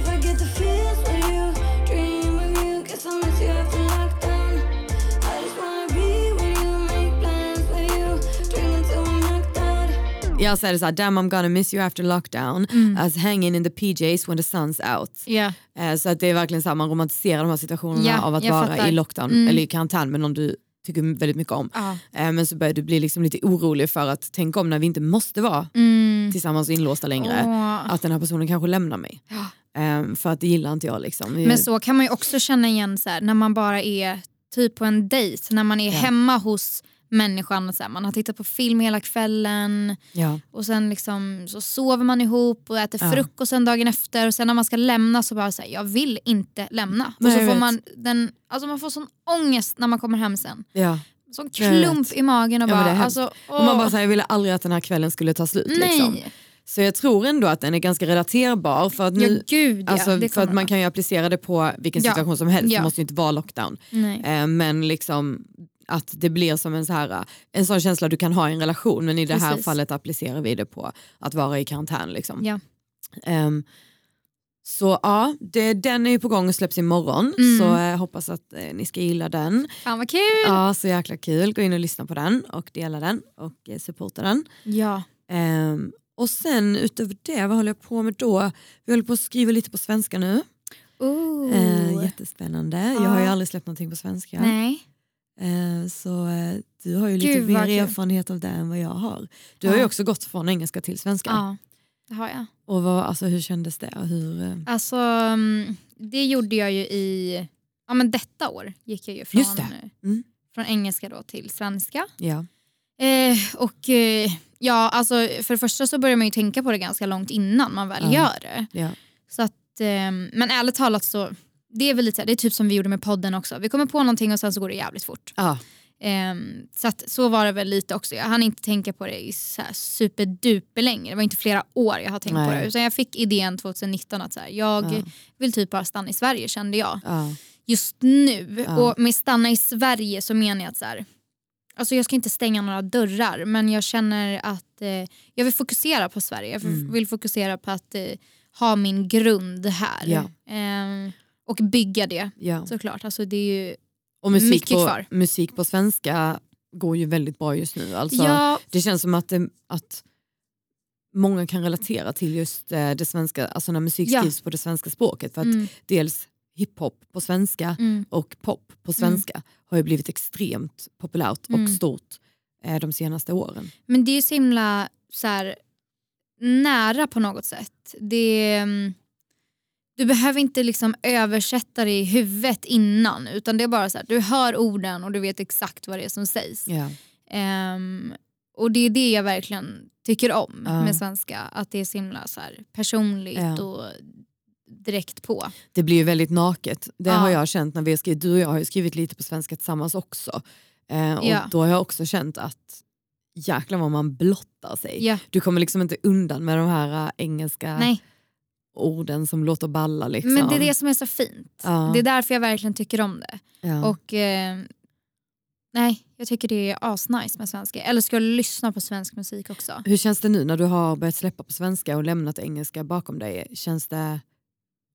[SPEAKER 3] If I get the feels with you, dream with you, guess I'll miss you after lockdown. I just wanna be with you, make plans with you, dreaming till I'm knocked out.
[SPEAKER 2] Jag säger så här, damn I'm gonna miss you after lockdown.
[SPEAKER 1] Mm.
[SPEAKER 2] As hanging in the PJs when the sun's out.
[SPEAKER 1] Ja.
[SPEAKER 2] Eh, så att det är verkligen så här, man romantiserar de här situationerna
[SPEAKER 1] Ja,
[SPEAKER 2] av att
[SPEAKER 1] jag
[SPEAKER 2] vara
[SPEAKER 1] fattar.
[SPEAKER 2] i lockdown
[SPEAKER 1] Mm.
[SPEAKER 2] eller i karantän med någon du tycker väldigt mycket om.
[SPEAKER 1] Ja.
[SPEAKER 2] Eh, men så börjar du bli liksom lite orolig för att tänk om när vi inte måste vara
[SPEAKER 1] Mm.
[SPEAKER 2] tillsammans och inlåsta längre.
[SPEAKER 1] Åh.
[SPEAKER 2] att den här personen kanske lämnar mig.
[SPEAKER 1] Ja.
[SPEAKER 2] Ehm, för att det gillar inte jag. Liksom. Vi-
[SPEAKER 1] Men så kan man ju också känna igen så här, när man bara är typ på en dejt, när man är
[SPEAKER 2] Ja.
[SPEAKER 1] hemma hos människan. Och så här, man har tittat på film hela kvällen
[SPEAKER 2] ja.
[SPEAKER 1] och sen liksom, så sover man ihop och äter
[SPEAKER 2] Ja.
[SPEAKER 1] frukost sen dagen efter och sen när man ska lämna så bara säger jag vill inte lämna.
[SPEAKER 2] Nej,
[SPEAKER 1] och så
[SPEAKER 2] jag
[SPEAKER 1] får
[SPEAKER 2] vet.
[SPEAKER 1] man, den, alltså man får sån ångest när man kommer hem sen.
[SPEAKER 2] Ja.
[SPEAKER 1] Sån
[SPEAKER 2] Jag vet.
[SPEAKER 1] klump i magen och
[SPEAKER 2] Ja, men det
[SPEAKER 1] bara...
[SPEAKER 2] är hemskt.
[SPEAKER 1] alltså,
[SPEAKER 2] Och man
[SPEAKER 1] åh,
[SPEAKER 2] bara, så här, jag ville aldrig att den här kvällen skulle ta slut. Liksom.
[SPEAKER 1] nej,
[SPEAKER 2] Så jag tror ändå att den är ganska relaterbar. För att, nu,
[SPEAKER 1] ja gud ja.
[SPEAKER 2] alltså,
[SPEAKER 1] det
[SPEAKER 2] för att
[SPEAKER 1] kommer
[SPEAKER 2] man kan ju applicera det på vilken
[SPEAKER 1] Ja.
[SPEAKER 2] situation som helst.
[SPEAKER 1] Ja.
[SPEAKER 2] Det måste ju inte vara lockdown.
[SPEAKER 1] Nej.
[SPEAKER 2] Ehm, men liksom att det blir som en, så här, en sån känsla du kan ha i en relation. Men i det här
[SPEAKER 1] Precis.
[SPEAKER 2] fallet applicerar vi det på att vara i karantän. Liksom.
[SPEAKER 1] Ja.
[SPEAKER 2] Ehm, så ja, det, den är ju på gång och släpps imorgon.
[SPEAKER 1] Mm.
[SPEAKER 2] Så eh, hoppas att eh, ni ska gilla den.
[SPEAKER 1] Fan vad kul!
[SPEAKER 2] Ja, så jäkla kul. Gå in och lyssna på den och dela den och eh, supporta den.
[SPEAKER 1] Ja.
[SPEAKER 2] Ehm, och sen utöver det, vad håller jag på med då? Vi håller på att skriva lite på svenska nu.
[SPEAKER 1] Ooh.
[SPEAKER 2] Eh, jättespännande. Jag har ju
[SPEAKER 1] Ja.
[SPEAKER 2] aldrig släppt någonting på svenska.
[SPEAKER 1] Nej.
[SPEAKER 2] Ehm, så eh, du har ju lite
[SPEAKER 1] Gud,
[SPEAKER 2] mer
[SPEAKER 1] vad kul.
[SPEAKER 2] erfarenhet av det än vad jag har. Du har
[SPEAKER 1] Ja.
[SPEAKER 2] ju också gått från engelska till svenska.
[SPEAKER 1] Ja, det har jag.
[SPEAKER 2] Och vad, alltså, hur kändes det? Hur, eh,
[SPEAKER 1] Alltså, mm, det gjorde jag ju i... Ja, men detta år gick jag ju från,
[SPEAKER 2] Just det. Mm.
[SPEAKER 1] från engelska då till svenska.
[SPEAKER 2] ja.
[SPEAKER 1] Eh, och eh, ja, alltså, för det första så börjar man ju tänka på det ganska långt innan man väl
[SPEAKER 2] Ja.
[SPEAKER 1] gör det.
[SPEAKER 2] Ja.
[SPEAKER 1] Så att, eh, men ärligt talat så det är väl lite så här, det är typ som vi gjorde med podden också. Vi kommer på någonting och sen så går det jävligt fort.
[SPEAKER 2] Ja.
[SPEAKER 1] Ehm, så att, så var det väl lite också. Jag hann inte tänka på det i så här superduper länge. Det var inte flera år jag har tänkt på
[SPEAKER 2] Nej.
[SPEAKER 1] det. Utan jag fick idén 2019 att så här, jag
[SPEAKER 2] Ja.
[SPEAKER 1] vill typ bara stanna i Sverige kände jag
[SPEAKER 2] Ja.
[SPEAKER 1] just nu.
[SPEAKER 2] Ja.
[SPEAKER 1] Och med stanna i Sverige så menar jag att så här, alltså jag ska inte stänga några dörrar men jag känner att eh, jag vill fokusera på Sverige. Jag
[SPEAKER 2] Mm.
[SPEAKER 1] vill fokusera på att eh, ha min grund här.
[SPEAKER 2] Ja.
[SPEAKER 1] Eh, och bygga det
[SPEAKER 2] Ja.
[SPEAKER 1] såklart. Alltså det är ju,
[SPEAKER 2] Och musik
[SPEAKER 1] mycket
[SPEAKER 2] på,
[SPEAKER 1] kvar.
[SPEAKER 2] musik på svenska går ju väldigt bra just nu. Alltså,
[SPEAKER 1] ja,
[SPEAKER 2] Det känns som att, det, att många kan relatera till just eh, det svenska, alltså när musik
[SPEAKER 1] Ja.
[SPEAKER 2] skrivs på det svenska språket. För att
[SPEAKER 1] mm,
[SPEAKER 2] dels hiphop på svenska
[SPEAKER 1] mm,
[SPEAKER 2] och pop på svenska har ju blivit extremt populärt och
[SPEAKER 1] Mm.
[SPEAKER 2] stort eh, de senaste åren.
[SPEAKER 1] Men det är ju så himla så här, nära på något sätt. Det, mm, du behöver inte liksom översätta det i huvudet innan utan det är bara så här, du hör orden och du vet exakt vad det är som sägs.
[SPEAKER 2] Ja.
[SPEAKER 1] Ehm, och det är det jag verkligen tycker om
[SPEAKER 2] Ja.
[SPEAKER 1] med svenska, att det är så himla så här, personligt
[SPEAKER 2] Ja.
[SPEAKER 1] och direkt på.
[SPEAKER 2] Det blir ju väldigt naket. Det
[SPEAKER 1] Ja.
[SPEAKER 2] har jag känt när vi har skrivit, du och jag har ju skrivit lite på svenska tillsammans också. Eh, och
[SPEAKER 1] Ja.
[SPEAKER 2] då har jag också känt att jäklar vad man blottar sig.
[SPEAKER 1] Ja.
[SPEAKER 2] Du kommer liksom inte undan med de här eh, engelska
[SPEAKER 1] Nej,
[SPEAKER 2] orden som låter balla. Liksom.
[SPEAKER 1] men det är det som är så fint.
[SPEAKER 2] Ja.
[SPEAKER 1] Det är därför jag verkligen tycker om det.
[SPEAKER 2] ja.
[SPEAKER 1] Och eh, nej, jag tycker det är asnice med svenska. Eller ska jag lyssna på svensk musik också?
[SPEAKER 2] Hur känns det nu när du har börjat släppa på svenska och lämnat engelska bakom dig? Känns det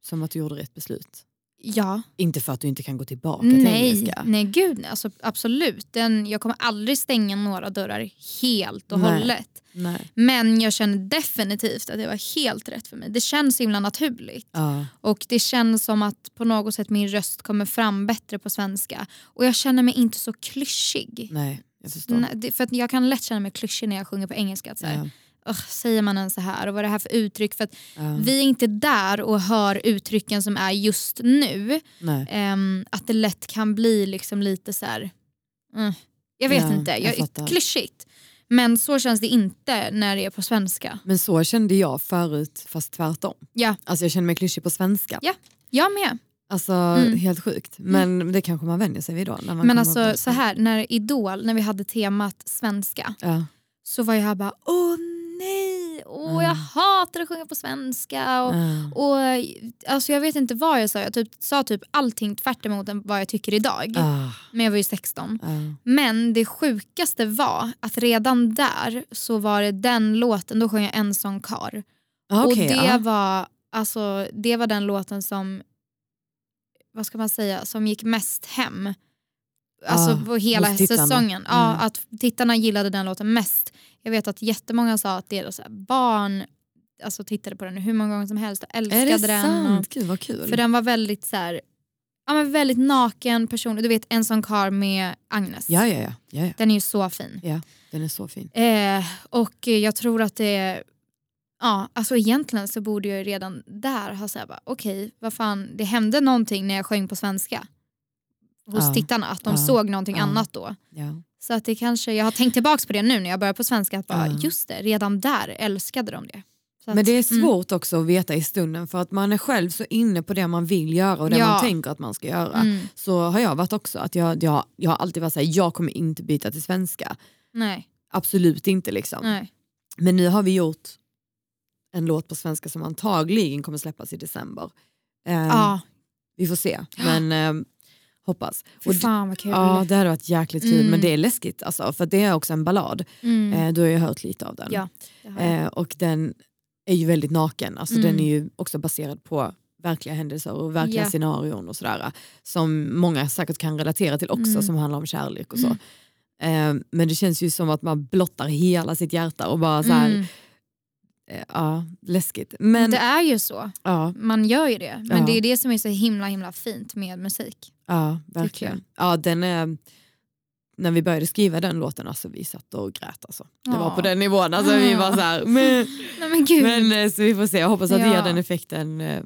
[SPEAKER 2] som att du gjorde rätt beslut?
[SPEAKER 1] Ja.
[SPEAKER 2] Inte för att du inte kan gå tillbaka till
[SPEAKER 1] Nej,
[SPEAKER 2] engelska.
[SPEAKER 1] nej gud nej. Alltså, absolut. Den, jag kommer aldrig stänga några dörrar helt och
[SPEAKER 2] Nej.
[SPEAKER 1] hållet.
[SPEAKER 2] Nej.
[SPEAKER 1] Men jag känner definitivt att det var helt rätt för mig. Det känns himla naturligt.
[SPEAKER 2] Ja.
[SPEAKER 1] Och det känns som att på något sätt min röst kommer fram bättre på svenska. Och jag känner mig inte så klyschig.
[SPEAKER 2] Nej, jag förstår.
[SPEAKER 1] Nej, det- För att jag kan lätt känna mig klyschig när jag sjunger på engelska. Att så här,
[SPEAKER 2] Ja.
[SPEAKER 1] "Ugh, säger man ens så här och vad är det här för uttryck? För att
[SPEAKER 2] Ja.
[SPEAKER 1] vi är inte där och hör uttrycken som är just nu.
[SPEAKER 2] Nej.
[SPEAKER 1] Ehm, att det lätt kan bli liksom lite så här. Mm, jag vet
[SPEAKER 2] Ja,
[SPEAKER 1] inte,
[SPEAKER 2] jag
[SPEAKER 1] jag,
[SPEAKER 2] fattar.
[SPEAKER 1] klyschigt. Men så känns det inte när det är på svenska.
[SPEAKER 2] Men så kände jag förut fast tvärtom.
[SPEAKER 1] Ja.
[SPEAKER 2] Alltså jag kände mig klyschig på svenska.
[SPEAKER 1] Ja. Jag med.
[SPEAKER 2] Alltså
[SPEAKER 1] Mm.
[SPEAKER 2] helt sjukt. Men det kanske man vänjer sig vid då. När man
[SPEAKER 1] Men
[SPEAKER 2] kommer
[SPEAKER 1] alltså
[SPEAKER 2] upp-
[SPEAKER 1] så här, när Idol, när vi hade temat svenska
[SPEAKER 2] Ja.
[SPEAKER 1] så var jag här bara åh nej, åh jag
[SPEAKER 2] Mm.
[SPEAKER 1] hatar att sjunga på svenska. Och,
[SPEAKER 2] Ja.
[SPEAKER 1] och alltså Jag vet inte vad jag sa, jag typ, sa typ allting tvärt emot än vad jag tycker idag.
[SPEAKER 2] Ah,
[SPEAKER 1] Men jag var ju 16.
[SPEAKER 2] ja.
[SPEAKER 1] Men det sjukaste var att redan där så var det den låten, då sjöng jag En sån kar.
[SPEAKER 2] Ah, okej,
[SPEAKER 1] och det,
[SPEAKER 2] ja.
[SPEAKER 1] var, alltså, det var den låten som, vad ska man säga, som gick mest hem. Alltså
[SPEAKER 2] Ja,
[SPEAKER 1] på hela
[SPEAKER 2] Ah, hos tittarna.
[SPEAKER 1] säsongen. Ja,
[SPEAKER 2] Mm.
[SPEAKER 1] att tittarna gillade den låten mest. Jag vet att jättemånga sa att deras barn alltså, tittade på den hur många gånger som helst och
[SPEAKER 2] Är
[SPEAKER 1] älskade
[SPEAKER 2] det
[SPEAKER 1] den. och-
[SPEAKER 2] sant? Gud vad kul.
[SPEAKER 1] för den var väldigt så här, ja, men väldigt naken person. Du vet en sån kar med Agnes.
[SPEAKER 2] Ja, ja, ja, ja, ja.
[SPEAKER 1] Den är ju så fin.
[SPEAKER 2] Den är så fin.
[SPEAKER 1] Eh, och eh, jag tror att det Ja, alltså egentligen så borde jag ju redan där ha sagt okej, vad fan, det hände någonting när jag sjöng på svenska hos
[SPEAKER 2] Ja,
[SPEAKER 1] tittarna, att de
[SPEAKER 2] ja,
[SPEAKER 1] såg någonting
[SPEAKER 2] ja.
[SPEAKER 1] annat då.
[SPEAKER 2] Ja.
[SPEAKER 1] Så att det kanske, jag har tänkt tillbaka på det nu när jag börjar på svenska, att bara,
[SPEAKER 2] Ja.
[SPEAKER 1] just det, redan där älskade de det. Så att, mm.
[SPEAKER 2] Men det är svårt också att veta i stunden för att man är själv så inne på det man vill göra och det
[SPEAKER 1] Ja.
[SPEAKER 2] man tänker att man ska göra.
[SPEAKER 1] Mm, mm,
[SPEAKER 2] Så har jag varit också, att jag, jag, jag har alltid varit såhär, jag kommer inte byta till svenska.
[SPEAKER 1] nej,
[SPEAKER 2] Absolut inte liksom.
[SPEAKER 1] nej.
[SPEAKER 2] Men nu har vi gjort en låt på svenska som antagligen kommer släppas i december. Ehm,
[SPEAKER 1] Ja,
[SPEAKER 2] Vi får se, men ehm, hoppas.
[SPEAKER 1] fy
[SPEAKER 2] Och d-
[SPEAKER 1] fan vad kul.
[SPEAKER 2] Ja, det hade varit jäkligt kul
[SPEAKER 1] Mm.
[SPEAKER 2] men det är läskigt alltså, för det är också en ballad.
[SPEAKER 1] Mm.
[SPEAKER 2] Eh, du har ju hört lite av den.
[SPEAKER 1] Ja, det har jag.
[SPEAKER 2] Eh, och den är ju väldigt naken, alltså
[SPEAKER 1] Mm.
[SPEAKER 2] den är ju också baserad på verkliga händelser och verkliga
[SPEAKER 1] Ja.
[SPEAKER 2] scenarion och sådär. Som många säkert kan relatera till också
[SPEAKER 1] Mm.
[SPEAKER 2] som handlar om kärlek och så. Eh, men det känns ju som att man blottar hela sitt hjärta och bara såhär,
[SPEAKER 1] Mm.
[SPEAKER 2] eh, ja läskigt. Men
[SPEAKER 1] det är ju så,
[SPEAKER 2] ja,
[SPEAKER 1] man gör ju det. Men
[SPEAKER 2] Ja.
[SPEAKER 1] det är det som är så himla himla fint med musik.
[SPEAKER 2] ja verkligen. Ja, den är, när vi började skriva den låten, alltså vi satt och grät alltså. Det var
[SPEAKER 1] Ja.
[SPEAKER 2] på den nivån, alltså vi var
[SPEAKER 1] Ja.
[SPEAKER 2] såhär, men
[SPEAKER 1] Nej men gud.
[SPEAKER 2] Men eh, så vi får se, jag hoppas att det
[SPEAKER 1] Ja.
[SPEAKER 2] ger den effekten eh,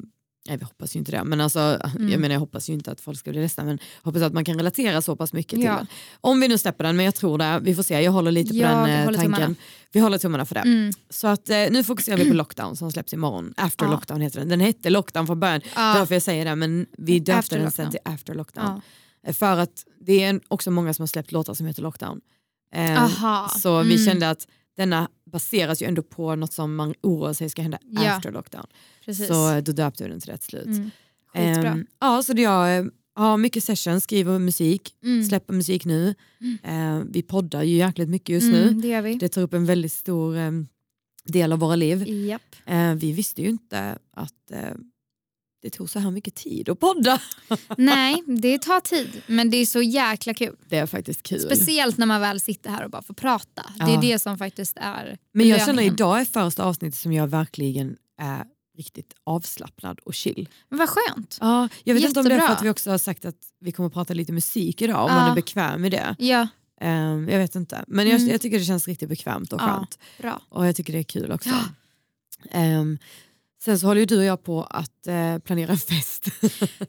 [SPEAKER 2] Nej vi hoppas ju inte det, men alltså,
[SPEAKER 1] Mm.
[SPEAKER 2] jag menar jag hoppas ju inte att folk ska bli ledsna men jag hoppas att man kan relatera så pass mycket till
[SPEAKER 1] Ja.
[SPEAKER 2] den. Om vi nu släpper den, men jag tror det, vi får se, jag håller lite på
[SPEAKER 1] Ja,
[SPEAKER 2] den
[SPEAKER 1] vi
[SPEAKER 2] eh,
[SPEAKER 1] håller
[SPEAKER 2] tanken.
[SPEAKER 1] tummarna.
[SPEAKER 2] Vi håller tummarna för det.
[SPEAKER 1] Mm.
[SPEAKER 2] Så att, eh, nu fokuserar vi på Lockdown som släpps imorgon, After
[SPEAKER 1] Ja.
[SPEAKER 2] Lockdown heter den. Den hette Lockdown från början,
[SPEAKER 1] Ja.
[SPEAKER 2] därför jag säger det, men vi döpte
[SPEAKER 1] After
[SPEAKER 2] den sen
[SPEAKER 1] Lockdown.
[SPEAKER 2] till After Lockdown.
[SPEAKER 1] Ja.
[SPEAKER 2] Eh, För att det är en- också många som har släppt låtar som heter Lockdown. Eh,
[SPEAKER 1] Aha.
[SPEAKER 2] så vi
[SPEAKER 1] Mm.
[SPEAKER 2] kände att denna baseras ju ändå på något som man oroar sig ska hända
[SPEAKER 1] Ja.
[SPEAKER 2] after lockdown.
[SPEAKER 1] Precis.
[SPEAKER 2] Så eh, då döpte vi den till rätt slut.
[SPEAKER 1] Mm. Skitbra.
[SPEAKER 2] Ehm, ja, så det jag eh, har mycket sessions, skriver musik,
[SPEAKER 1] Mm.
[SPEAKER 2] släpper musik nu. Ehm, vi poddar ju jäkligt mycket just
[SPEAKER 1] Mm,
[SPEAKER 2] nu.
[SPEAKER 1] det gör vi.
[SPEAKER 2] Det tar upp en väldigt stor ehm, del av våra liv.
[SPEAKER 1] Japp.
[SPEAKER 2] Ehm, vi visste ju inte att eh, det tog så här mycket tid att podda.
[SPEAKER 1] Nej, det tar tid men det är så jäkla kul.
[SPEAKER 2] Det är faktiskt kul.
[SPEAKER 1] Speciellt när man väl sitter här och bara får prata. Det
[SPEAKER 2] Ja.
[SPEAKER 1] är det som faktiskt är
[SPEAKER 2] Men jag känner
[SPEAKER 1] belöningen.
[SPEAKER 2] idag är första avsnittet som jag verkligen är riktigt avslappnad och chill.
[SPEAKER 1] Men vad skönt.
[SPEAKER 2] Ja, jag vet inte om det är för
[SPEAKER 1] Jättebra.
[SPEAKER 2] att vi också har sagt att vi kommer att prata lite musik idag, om
[SPEAKER 1] Ja.
[SPEAKER 2] man är bekväm med det.
[SPEAKER 1] Ja,
[SPEAKER 2] Ehm, jag vet inte, men jag,
[SPEAKER 1] Mm.
[SPEAKER 2] jag tycker det känns riktigt bekvämt och
[SPEAKER 1] Ja.
[SPEAKER 2] skönt.
[SPEAKER 1] bra.
[SPEAKER 2] Och jag tycker det är kul också.
[SPEAKER 1] Ja.
[SPEAKER 2] Ehm, sen så håller ju du och jag på att eh, planera en fest.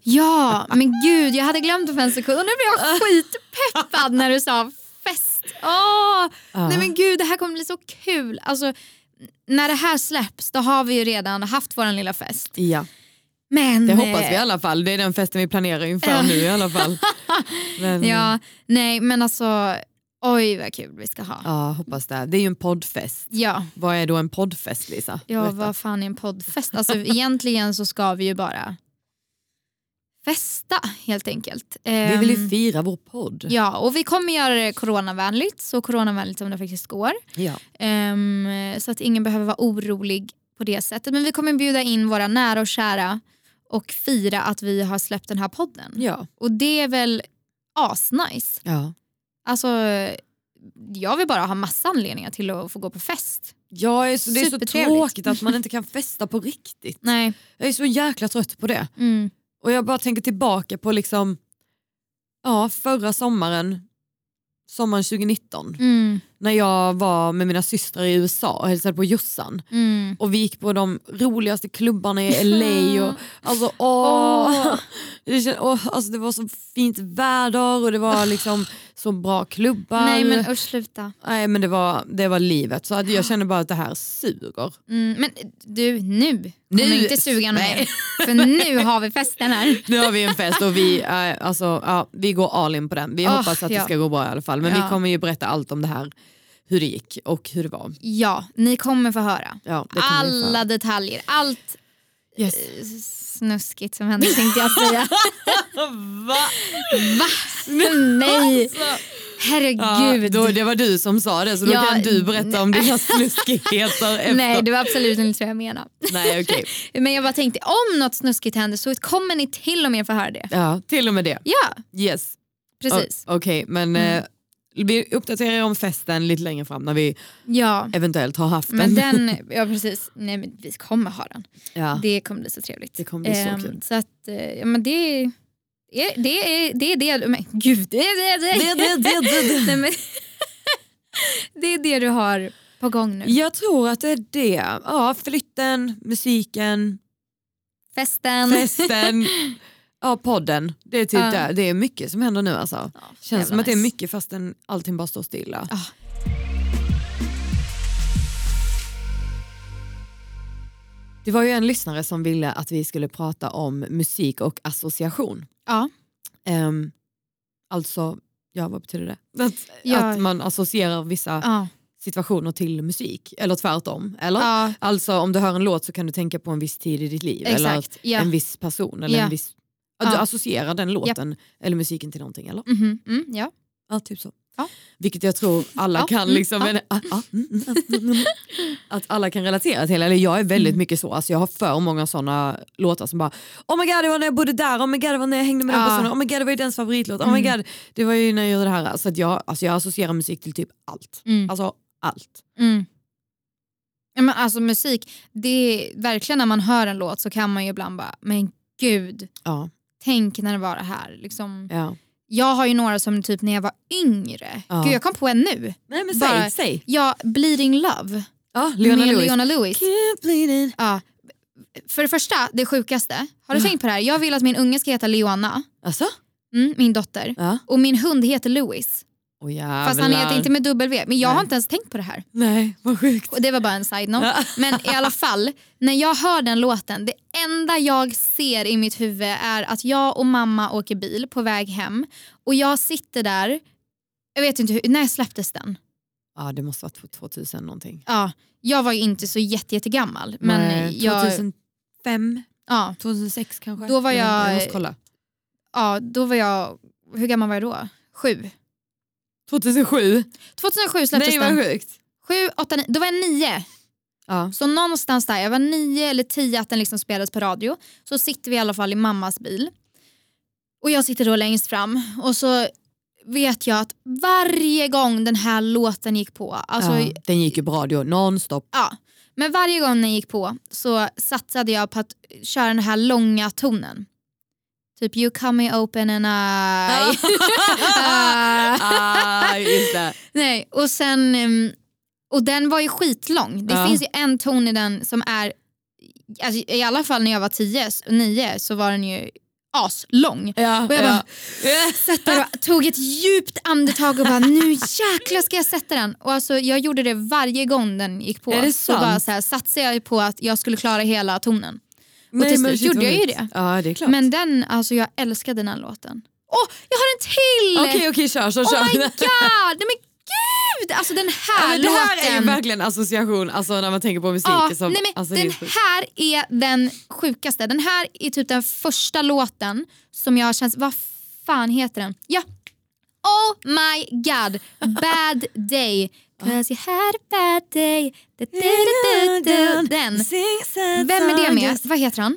[SPEAKER 1] Ja, men gud jag hade glömt det för en sekund och nu blev jag skitpeppad när du sa fest. Åh,
[SPEAKER 2] Ja.
[SPEAKER 1] Nej men gud det här kommer bli så kul. Alltså, när det här släpps då har vi ju redan haft vår lilla fest.
[SPEAKER 2] ja,
[SPEAKER 1] Men,
[SPEAKER 2] det hoppas vi i
[SPEAKER 1] eh,
[SPEAKER 2] alla fall. Det är den festen vi planerar inför nu i alla fall. Men,
[SPEAKER 1] Ja, nej men alltså oj vad kul vi ska ha.
[SPEAKER 2] ja, hoppas det. Det är ju en poddfest.
[SPEAKER 1] Ja,
[SPEAKER 2] Vad är då en poddfest Lisa?
[SPEAKER 1] ja
[SPEAKER 2] Berätta.
[SPEAKER 1] vad fan är en poddfest? Alltså egentligen så ska vi ju bara festa helt enkelt.
[SPEAKER 2] Vi vill ju
[SPEAKER 1] Ehm,
[SPEAKER 2] fira vår podd.
[SPEAKER 1] Ja, och vi kommer göra det coronavänligt, så coronavänligt som det faktiskt går.
[SPEAKER 2] Ja.
[SPEAKER 1] Ehm, så att ingen behöver vara orolig på det sättet. Men vi kommer bjuda in våra nära och kära och fira att vi har släppt den här podden.
[SPEAKER 2] Ja.
[SPEAKER 1] Och det är väl asnice.
[SPEAKER 2] Ja.
[SPEAKER 1] Alltså, jag vill bara ha massa anledningar till att få gå på fest.
[SPEAKER 2] Jag är så, det är så
[SPEAKER 1] Supertrevligt.
[SPEAKER 2] tråkigt att man inte kan festa på riktigt.
[SPEAKER 1] Nej.
[SPEAKER 2] Jag är så jäkla trött på det.
[SPEAKER 1] Mm.
[SPEAKER 2] Och jag bara tänker tillbaka på liksom, ja, förra sommaren, sommaren 2019,
[SPEAKER 1] Mm.
[SPEAKER 2] när jag var med mina systrar i USA och hälsade på Jossan.
[SPEAKER 1] Mm.
[SPEAKER 2] Och vi gick på de roligaste klubbarna i LA. Och, alltså, åh.
[SPEAKER 1] Åh.
[SPEAKER 2] Det, kän- åh, alltså, det var så fint väder och det var liksom så bra klubbar.
[SPEAKER 1] Nej men usch sluta.
[SPEAKER 2] Nej, men det, var, det var livet. Så att jag känner bara att det här suger.
[SPEAKER 1] Mm. Men du, nu
[SPEAKER 2] Nu-
[SPEAKER 1] kommer inte suga någon mer. För nu har vi festen här.
[SPEAKER 2] Nu har vi en fest och vi, eh, alltså, ja, vi går all in på den. Vi
[SPEAKER 1] Ah,
[SPEAKER 2] hoppas att det
[SPEAKER 1] ja.
[SPEAKER 2] ska gå bra i alla fall. Men vi
[SPEAKER 1] Ja.
[SPEAKER 2] kommer ju berätta allt om det här, hur det gick och hur det var.
[SPEAKER 1] Ja, ni kommer få höra.
[SPEAKER 2] Ja, det kommer vi
[SPEAKER 1] Alla detaljer, allt
[SPEAKER 2] få. Yes.
[SPEAKER 1] snuskigt som hände tänkte jag säga. Va? Nej,
[SPEAKER 2] alltså. Ja,
[SPEAKER 1] herregud.
[SPEAKER 2] då, det var du som sa det så då
[SPEAKER 1] Ja,
[SPEAKER 2] kan du berätta om dina snuskigheter efter.
[SPEAKER 1] Nej, det var absolut inte så jag menade.
[SPEAKER 2] Nej, okej.
[SPEAKER 1] Men jag bara tänkte, om något snuskigt händer så kommer ni till och med få höra det.
[SPEAKER 2] Ja, till och med det.
[SPEAKER 1] Ja,
[SPEAKER 2] Yes.
[SPEAKER 1] precis. Mm.
[SPEAKER 2] O- Okej, men eh, vi uppdaterar om festen lite längre fram när vi
[SPEAKER 1] Ja,
[SPEAKER 2] eventuellt har haft
[SPEAKER 1] men
[SPEAKER 2] den.
[SPEAKER 1] den, ja precis. Nej men vi kommer ha den.
[SPEAKER 2] Ja.
[SPEAKER 1] Det kommer bli så trevligt.
[SPEAKER 2] Det kommer bli så
[SPEAKER 1] Ehm,
[SPEAKER 2] kul.
[SPEAKER 1] Så att, eh, ja men det är det, är- det, är det, men gud, det är det, det,
[SPEAKER 2] Det, det, det, det, det.
[SPEAKER 1] Nej, men det är det du har på gång nu.
[SPEAKER 2] Jag tror att det är det. Ja, flytten, musiken,
[SPEAKER 1] Festen.
[SPEAKER 2] festen, ja, podden. Det är, typ
[SPEAKER 1] Ja.
[SPEAKER 2] det. det är mycket som händer nu alltså.
[SPEAKER 1] Ja,
[SPEAKER 2] Känns som
[SPEAKER 1] jävla
[SPEAKER 2] att det är
[SPEAKER 1] nice.
[SPEAKER 2] mycket fastän allting bara står stilla.
[SPEAKER 1] Ja.
[SPEAKER 2] Det var ju en lyssnare som ville att vi skulle prata om musik och association.
[SPEAKER 1] Ja.
[SPEAKER 2] Ehm, alltså, ja vad betyder det? Att,
[SPEAKER 1] Ja.
[SPEAKER 2] att man associerar vissa
[SPEAKER 1] Ja.
[SPEAKER 2] situationer till musik, eller tvärtom. Eller?
[SPEAKER 1] alltså. Ja.
[SPEAKER 2] Alltså om du hör en låt så kan du tänka på en viss tid i ditt liv. Eller
[SPEAKER 1] Exakt. Ja.
[SPEAKER 2] en viss person. Eller en
[SPEAKER 1] Ja.
[SPEAKER 2] viss, att du
[SPEAKER 1] Ja.
[SPEAKER 2] associerar den låten eller musiken till någonting. Eller?
[SPEAKER 1] Mhm. Mm, ja.
[SPEAKER 2] Ja, typ så.
[SPEAKER 1] Ja.
[SPEAKER 2] Vilket jag tror alla
[SPEAKER 1] Ja,
[SPEAKER 2] kan
[SPEAKER 1] mm,
[SPEAKER 2] liksom, men, ah, ah, mm, mm, mm, mm. att alla kan relatera till. Eller jag är väldigt mycket så, alltså, jag har för många sådana låtar som bara Oh my god det var när jag bodde där, oh my god det var när jag hängde med den
[SPEAKER 1] Ja.
[SPEAKER 2] personen, oh my god det var ju dens favoritlåt, oh my god det var ju när jag gjorde det här. Så att jag, alltså, jag associerar musik till typ allt.
[SPEAKER 1] Mm.
[SPEAKER 2] Alltså allt.
[SPEAKER 1] Mm. Ja, men alltså musik, det är, verkligen när man hör en låt så kan man ju ibland bara, men gud,
[SPEAKER 2] Ja,
[SPEAKER 1] tänk när det var det här. Liksom.
[SPEAKER 2] ja.
[SPEAKER 1] Jag har ju några som typ när jag var yngre,
[SPEAKER 2] Ja.
[SPEAKER 1] gud jag kom på en nu.
[SPEAKER 2] Nej men
[SPEAKER 1] Bara-
[SPEAKER 2] säg, säg.
[SPEAKER 1] Ja, Bleeding Love
[SPEAKER 2] Ja, Leona
[SPEAKER 1] med
[SPEAKER 2] Lewis.
[SPEAKER 1] Leona Lewis.
[SPEAKER 2] Can't bleed it.
[SPEAKER 1] Ja. för det första, det sjukaste. Har du tänkt på det här? Jag vill att min unge ska heta Leoanna,
[SPEAKER 2] Alltså?
[SPEAKER 1] mm, min dotter.
[SPEAKER 2] Ja.
[SPEAKER 1] Och min hund heter Louis.
[SPEAKER 2] Oh, jävlar.
[SPEAKER 1] Fast han heter inte med W. Men jag har
[SPEAKER 2] Nej.
[SPEAKER 1] inte ens tänkt på det här.
[SPEAKER 2] Nej, vad sjukt.
[SPEAKER 1] Och det var bara en side-note.
[SPEAKER 2] Ja.
[SPEAKER 1] Men i alla fall, när jag hör den låten, det enda jag ser i mitt huvud är att jag och mamma åker bil på väg hem och jag sitter där, jag vet inte hur, när släpptes den?
[SPEAKER 2] Ja, det måste vara 2000 någonting.
[SPEAKER 1] Ja, jag var ju inte så jätte, jättegammal men
[SPEAKER 2] Nej,
[SPEAKER 1] jag,
[SPEAKER 2] 2005,
[SPEAKER 1] ja,
[SPEAKER 2] 2006 kanske.
[SPEAKER 1] Då var
[SPEAKER 2] vänta,
[SPEAKER 1] jag-
[SPEAKER 2] jag måste kolla.
[SPEAKER 1] ja, då var jag, hur gammal var jag då? Sju.
[SPEAKER 2] 2007?
[SPEAKER 1] 2007 släpptes
[SPEAKER 2] Nej, vad
[SPEAKER 1] den.
[SPEAKER 2] sjukt.
[SPEAKER 1] Sju, åtta, nio, då var jag nio.
[SPEAKER 2] Ja.
[SPEAKER 1] Så någonstans där, jag var nio eller tio att den liksom spelades på radio. Så sitter vi i alla fall i mammas bil. Och jag sitter då längst fram och så vet jag att varje gång den här låten gick på, alltså, ja.
[SPEAKER 2] ja. Den gick ju på radio nonstop.
[SPEAKER 1] men varje gång den gick på så satsade jag på att köra den här långa tonen. Typ you cut me open and I... Ah.
[SPEAKER 2] ah, just det.
[SPEAKER 1] Nej, och sen... ehm, Och den var ju skitlång. Det
[SPEAKER 2] Ja.
[SPEAKER 1] finns ju en ton i den som är... Alltså, I alla fall när jag var 10 s- nio så var den ju aslång.
[SPEAKER 2] Ja,
[SPEAKER 1] Och jag bara-
[SPEAKER 2] ja.
[SPEAKER 1] Satt där och tog ett djupt andetag och bara nu jäklar ska jag sätta den. Och alltså, jag gjorde det varje gång den gick på.
[SPEAKER 2] Är det
[SPEAKER 1] så bara
[SPEAKER 2] sant?
[SPEAKER 1] så här, satsade jag på att jag skulle klara hela tonen.
[SPEAKER 2] Nej,
[SPEAKER 1] till
[SPEAKER 2] men
[SPEAKER 1] slut
[SPEAKER 2] shit,
[SPEAKER 1] gjorde
[SPEAKER 2] vad
[SPEAKER 1] jag ju
[SPEAKER 2] sjukt.
[SPEAKER 1] det.
[SPEAKER 2] Ja, det är klart.
[SPEAKER 1] Men den, alltså jag älskade den här låten. Åh, jag har en till!
[SPEAKER 2] Okej, okej, kör, kör, kör.
[SPEAKER 1] Oh my god! Nej men gud! Alltså den
[SPEAKER 2] Ja,
[SPEAKER 1] här
[SPEAKER 2] men det här är ju
[SPEAKER 1] låten.
[SPEAKER 2] verkligen association alltså, när man tänker på musik.
[SPEAKER 1] Ja,
[SPEAKER 2] som,
[SPEAKER 1] nej men
[SPEAKER 2] alltså, det är
[SPEAKER 1] den
[SPEAKER 2] sjukt.
[SPEAKER 1] här är den sjukaste. Den här är typ den första låten som jag har känt, vad fan heter den? Ja, Oh my god, bad day. Cause you had a bad day. Du, du, du, du, du. Den. Vem är det med? Vad heter han?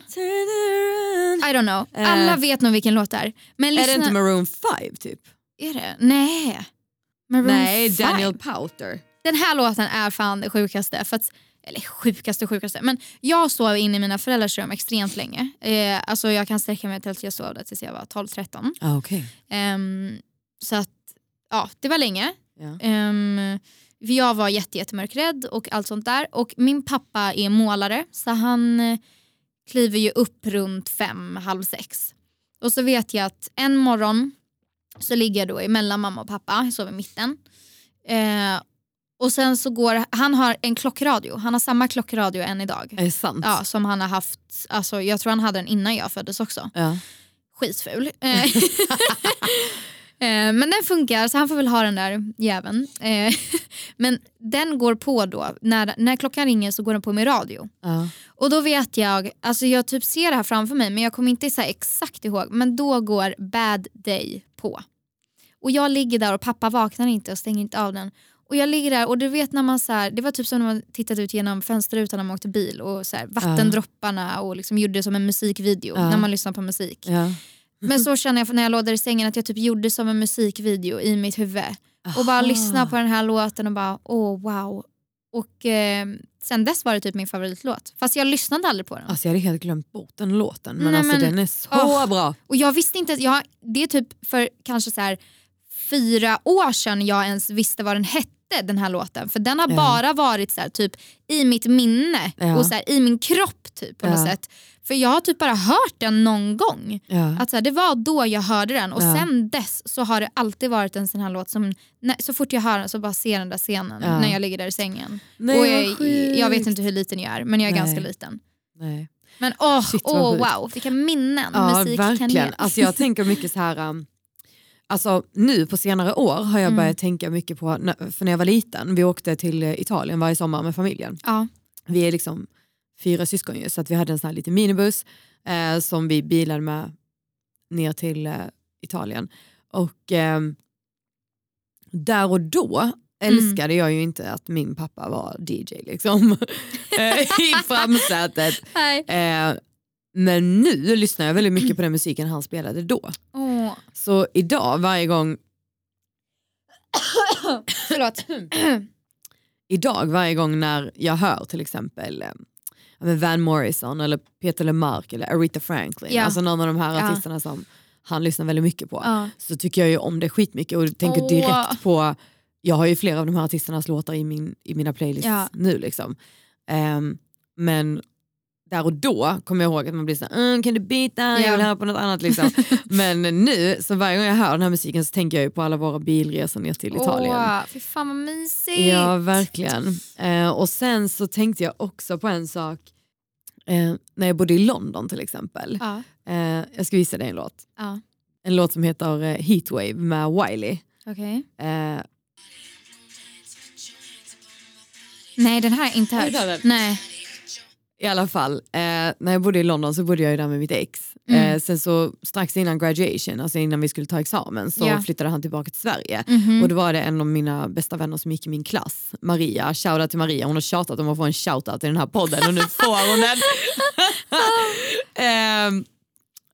[SPEAKER 1] I don't know. Alla
[SPEAKER 2] Eh.
[SPEAKER 1] vet nog vilken låt det är. Men lyssna,
[SPEAKER 2] Är det inte Maroon 5 typ?
[SPEAKER 1] Är det? Nej. Maroon
[SPEAKER 2] Nej,
[SPEAKER 1] five.
[SPEAKER 2] Daniel Powter.
[SPEAKER 1] den här låten är fan det sjukaste. För att, eller sjukaste sjukaste. Men jag sov inne i mina föräldrars rum extremt länge. Eh, alltså jag kan sträcka mig till att jag sov där tills jag var 12-13.
[SPEAKER 2] Ah, okay.
[SPEAKER 1] Ehm, så att, ja det var länge.
[SPEAKER 2] Ja.
[SPEAKER 1] Ehm, för jag var jätte, jättemörkrädd och allt sånt där. Och min pappa är målare så han eh, kliver ju upp runt fem, halv sex. Och så vet jag att en morgon så ligger jag då emellan mamma och pappa, jag sover i mitten. Eh, och sen så går, han har en klockradio, han har samma klockradio än idag.
[SPEAKER 2] Är det sant?
[SPEAKER 1] Ja, som han har haft, alltså, jag tror han hade den innan jag föddes också
[SPEAKER 2] Ja.
[SPEAKER 1] skitful. Eh, eh, Men den funkar så han får väl ha den där jäveln. Eh, Men den går på då, när, när klockan ringer så går den på med radio.
[SPEAKER 2] Ja.
[SPEAKER 1] Och då vet jag, alltså jag typ ser det här framför mig men jag kommer inte så här exakt ihåg. Men då går Bad Day på. Och jag ligger där och pappa vaknar inte och stänger inte av den. Och jag ligger där och du vet när man så här, det var typ som när man tittat ut genom fönsterrutan när man åkte bil och så här, vattendropparna och liksom gjorde det som en musikvideo
[SPEAKER 2] Ja.
[SPEAKER 1] när man lyssnar på musik.
[SPEAKER 2] Ja.
[SPEAKER 1] Men så känner jag för när jag låg där i sängen att jag typ gjorde som en musikvideo i mitt huvud. Och bara
[SPEAKER 2] Aha.
[SPEAKER 1] lyssna på den här låten och bara åh wow. Och eh, sen dess var det typ min favoritlåt. Fast jag lyssnade aldrig på den.
[SPEAKER 2] Alltså, jag hade helt glömt bort den låten men,
[SPEAKER 1] Nej,
[SPEAKER 2] alltså,
[SPEAKER 1] men-
[SPEAKER 2] den är så
[SPEAKER 1] Åh.
[SPEAKER 2] bra.
[SPEAKER 1] Och jag visste inte, ens- jag, det är typ för kanske så här fyra år sedan jag ens visste vad den hette den här låten. För den har
[SPEAKER 2] Ja.
[SPEAKER 1] bara varit så här, typ i mitt minne
[SPEAKER 2] Ja.
[SPEAKER 1] och så här, i min kropp typ på något
[SPEAKER 2] Ja.
[SPEAKER 1] sätt. För jag har typ bara hört den någon gång.
[SPEAKER 2] Ja.
[SPEAKER 1] Att så här, det var då jag hörde den och
[SPEAKER 2] Ja.
[SPEAKER 1] sen dess så har det alltid varit en sån här låt som när, så fort jag hör den så bara ser den där scenen
[SPEAKER 2] Ja.
[SPEAKER 1] när jag ligger där i sängen.
[SPEAKER 2] Nej,
[SPEAKER 1] och
[SPEAKER 2] vad
[SPEAKER 1] jag, jag vet
[SPEAKER 2] sjukt.
[SPEAKER 1] inte hur liten jag är men jag är
[SPEAKER 2] Nej.
[SPEAKER 1] ganska liten.
[SPEAKER 2] Nej.
[SPEAKER 1] Men åh,
[SPEAKER 2] Shit, vad
[SPEAKER 1] åh
[SPEAKER 2] sjukt.
[SPEAKER 1] wow, vilka minnen
[SPEAKER 2] Ja,
[SPEAKER 1] musik kan
[SPEAKER 2] verkligen.
[SPEAKER 1] ge.
[SPEAKER 2] Alltså, jag tänker mycket så här... um, Alltså, nu på senare år har jag
[SPEAKER 1] Mm.
[SPEAKER 2] börjat tänka mycket på, för när jag var liten, vi åkte till eh, Italien varje sommar med familjen.
[SPEAKER 1] Ja,
[SPEAKER 2] vi är liksom fyra syskon ju, så att vi hade en sån här liten minibuss eh, som vi bilade med ner till eh, Italien. Och ehm, där och då älskade jag ju inte att min pappa var DJ liksom eh, i framsätet.
[SPEAKER 1] hej.
[SPEAKER 2] Eh, men nu lyssnar jag väldigt mycket på den musiken han spelade då.
[SPEAKER 1] Åh,
[SPEAKER 2] Så idag varje gång
[SPEAKER 1] förlåt.
[SPEAKER 2] idag varje gång när jag hör till exempel eh, ja, men Van Morrison eller Peter LeMarc eller Aretha Franklin,
[SPEAKER 1] Ja.
[SPEAKER 2] alltså någon av de här
[SPEAKER 1] Ja.
[SPEAKER 2] artisterna som han lyssnar väldigt mycket på,
[SPEAKER 1] Ja.
[SPEAKER 2] så tycker jag ju om det skitmycket och tänker
[SPEAKER 1] Åh.
[SPEAKER 2] direkt på, jag har ju flera av de här artisternas låtar i, min, i mina playlists
[SPEAKER 1] Ja.
[SPEAKER 2] nu liksom. Ehm, liksom. men där och då kommer jag ihåg att man blir så här, mm, kan du byta, jag vill
[SPEAKER 1] Ja.
[SPEAKER 2] höra på något annat. Liksom. Men nu, så varje gång jag hör den här musiken så tänker jag ju på alla våra bilresor ner till Italien.
[SPEAKER 1] Åh, fy fan vad mysigt.
[SPEAKER 2] Ja, verkligen. Eh, och sen så tänkte jag också på en sak eh, när jag bodde i London till exempel.
[SPEAKER 1] Ja,
[SPEAKER 2] Eh, jag ska visa dig en låt.
[SPEAKER 1] ja.
[SPEAKER 2] En låt som heter eh, Heatwave med Wiley.
[SPEAKER 1] okej.
[SPEAKER 2] Eh,
[SPEAKER 1] Nej den här har jag inte
[SPEAKER 2] Är
[SPEAKER 1] hört.
[SPEAKER 2] det där den?
[SPEAKER 1] Nej.
[SPEAKER 2] I alla fall, eh, när jag bodde i London så bodde jag ju där med mitt ex.
[SPEAKER 1] Mm.
[SPEAKER 2] Eh, sen så strax innan graduation, alltså innan vi skulle ta examen, så
[SPEAKER 1] Ja.
[SPEAKER 2] flyttade han tillbaka till Sverige.
[SPEAKER 1] Mhm.
[SPEAKER 2] Och då var det en av mina bästa vänner som gick i min klass, Maria. Shoutout till Maria, hon har tjatat om att få en shoutout i den här podden och nu får hon den. Ehm,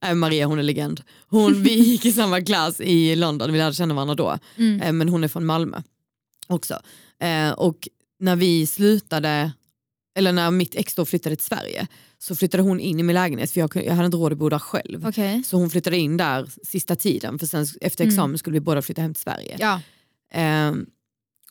[SPEAKER 2] eh, Maria hon är legend. Hon, vi gick i samma klass i London, vi lärde känna varandra då.
[SPEAKER 1] Mm.
[SPEAKER 2] Eh, men hon är från Malmö också. Eh, och när vi slutade, eller när mitt ex då flyttade till Sverige så flyttade hon in i min lägenhet för jag, kunde- jag hade inte råd att bo där själv.
[SPEAKER 1] Okej.
[SPEAKER 2] Så hon flyttade in där sista tiden för sen efter
[SPEAKER 1] Mm.
[SPEAKER 2] examen skulle vi båda flytta hem till Sverige.
[SPEAKER 1] Ja.
[SPEAKER 2] Eh,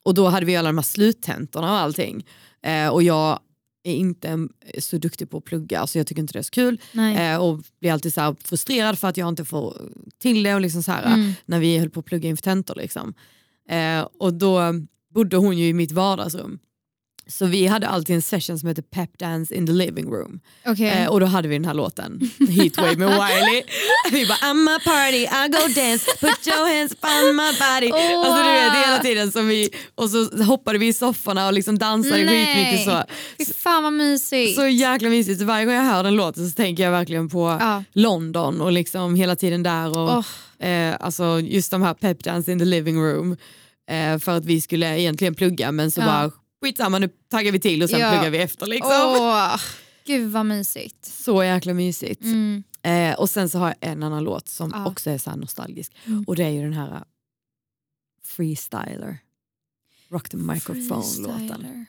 [SPEAKER 2] och då hade vi alla de här sluttentorna och allting. Eh, och jag är inte en- så duktig på att plugga så jag tycker inte det är så kul.
[SPEAKER 1] Nej.
[SPEAKER 2] Eh, och blir alltid så här frustrerad för att jag inte får till det och liksom så här,
[SPEAKER 1] Mm.
[SPEAKER 2] när vi höll på att plugga inför tentor. Liksom. Eh, och då bodde hon ju i mitt vardagsrum. Så vi hade alltid en session som hette Pep Dance in the living room.
[SPEAKER 1] Okej.
[SPEAKER 2] Eh, och då hade vi den här låten, Heatwave med Wiley. vi bara I'm a party, I go dance, put your hands upon my body.
[SPEAKER 1] Åh.
[SPEAKER 2] Alltså du vet, det är hela tiden som vi, och så hoppade vi i sofforna och liksom dansade
[SPEAKER 1] Nej.
[SPEAKER 2] skitmycket så.
[SPEAKER 1] Fy fan vad mysigt.
[SPEAKER 2] Så jäkla mysigt. Så varje gång jag hör den låten så tänker jag verkligen på
[SPEAKER 1] Ja.
[SPEAKER 2] London och liksom hela tiden där. Och,
[SPEAKER 1] Åh.
[SPEAKER 2] eh, alltså just de här pep dance in the living room. Eh, för att vi skulle egentligen plugga men så
[SPEAKER 1] Ja.
[SPEAKER 2] bara skitsamma nu taggar vi till och sen
[SPEAKER 1] Ja.
[SPEAKER 2] pluggar vi efter. Liksom.
[SPEAKER 1] Åh, gud vad mysigt.
[SPEAKER 2] Så jäkla mysigt.
[SPEAKER 1] Mm.
[SPEAKER 2] Eh, och sen så har jag en annan låt som
[SPEAKER 1] Ja.
[SPEAKER 2] också är så här nostalgisk.
[SPEAKER 1] Mm.
[SPEAKER 2] Och det är ju den här eh, Freestyler. Rock the microphone-låten. Mm.
[SPEAKER 1] Freestyler.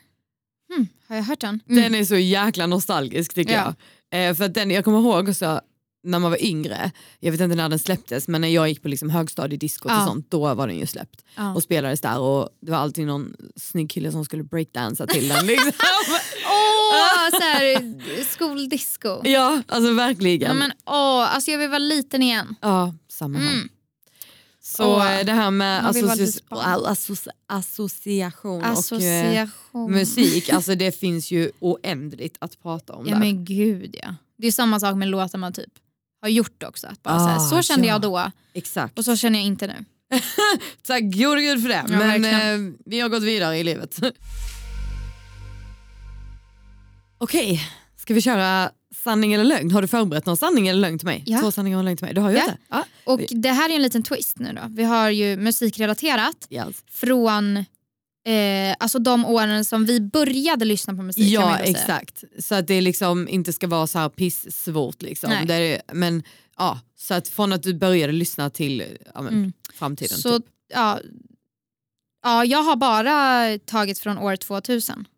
[SPEAKER 1] Hmm, har jag hört den?
[SPEAKER 2] Den är så jäkla nostalgisk tycker
[SPEAKER 1] Ja.
[SPEAKER 2] jag. Eh, för att den, jag kommer ihåg också när man var yngre, jag vet inte när den släpptes men när jag gick på liksom högstadiediskot
[SPEAKER 1] Ja.
[SPEAKER 2] och sånt då var den ju släppt
[SPEAKER 1] Ja.
[SPEAKER 2] och spelades där och det var alltid någon snygg kille som skulle breakdansa till den. Liksom.
[SPEAKER 1] Ah! Åh, så här, skoldisco.
[SPEAKER 2] ja, alltså verkligen.
[SPEAKER 1] Ja, men, åh, alltså jag vill vara liten igen.
[SPEAKER 2] Ja, samma här.
[SPEAKER 1] Mm.
[SPEAKER 2] Så
[SPEAKER 1] Åh.
[SPEAKER 2] eh, det här med
[SPEAKER 1] Man vill vara
[SPEAKER 2] associ-
[SPEAKER 1] lite spann.
[SPEAKER 2] associ- association och eh,
[SPEAKER 1] Association.
[SPEAKER 2] musik, alltså det finns ju oändligt att prata om
[SPEAKER 1] Ja
[SPEAKER 2] där.
[SPEAKER 1] men gud ja. Det är samma sak med låtar man typ har gjort också. Att bara, så, här,
[SPEAKER 2] Ah,
[SPEAKER 1] så kände
[SPEAKER 2] ja.
[SPEAKER 1] jag då
[SPEAKER 2] Exakt.
[SPEAKER 1] och så känner jag inte nu.
[SPEAKER 2] Tack gode gud för det.
[SPEAKER 1] Ja,
[SPEAKER 2] men
[SPEAKER 1] verkligen.
[SPEAKER 2] eh, vi har gått vidare i livet. Okej, ska vi köra sanning eller lögn? Har du förberett någon sanning eller lögn till mig?
[SPEAKER 1] Ja.
[SPEAKER 2] Två sanningar och en lögn till mig. Du har gjort
[SPEAKER 1] Ja.
[SPEAKER 2] det? Ja.
[SPEAKER 1] Och det här är en liten twist nu då. Vi har ju musikrelaterat
[SPEAKER 2] Yes.
[SPEAKER 1] från eh, alltså de åren som vi började lyssna på musik. kan man
[SPEAKER 2] ja
[SPEAKER 1] ändå säga.
[SPEAKER 2] exakt. Så att det liksom inte ska vara så här pissvårt. Liksom.
[SPEAKER 1] Nej.
[SPEAKER 2] Det är, men, ja, så att från att du började lyssna till ja, men,
[SPEAKER 1] Mm.
[SPEAKER 2] framtiden.
[SPEAKER 1] Så,
[SPEAKER 2] typ.
[SPEAKER 1] ja, ja, jag har bara tagit från år 2000.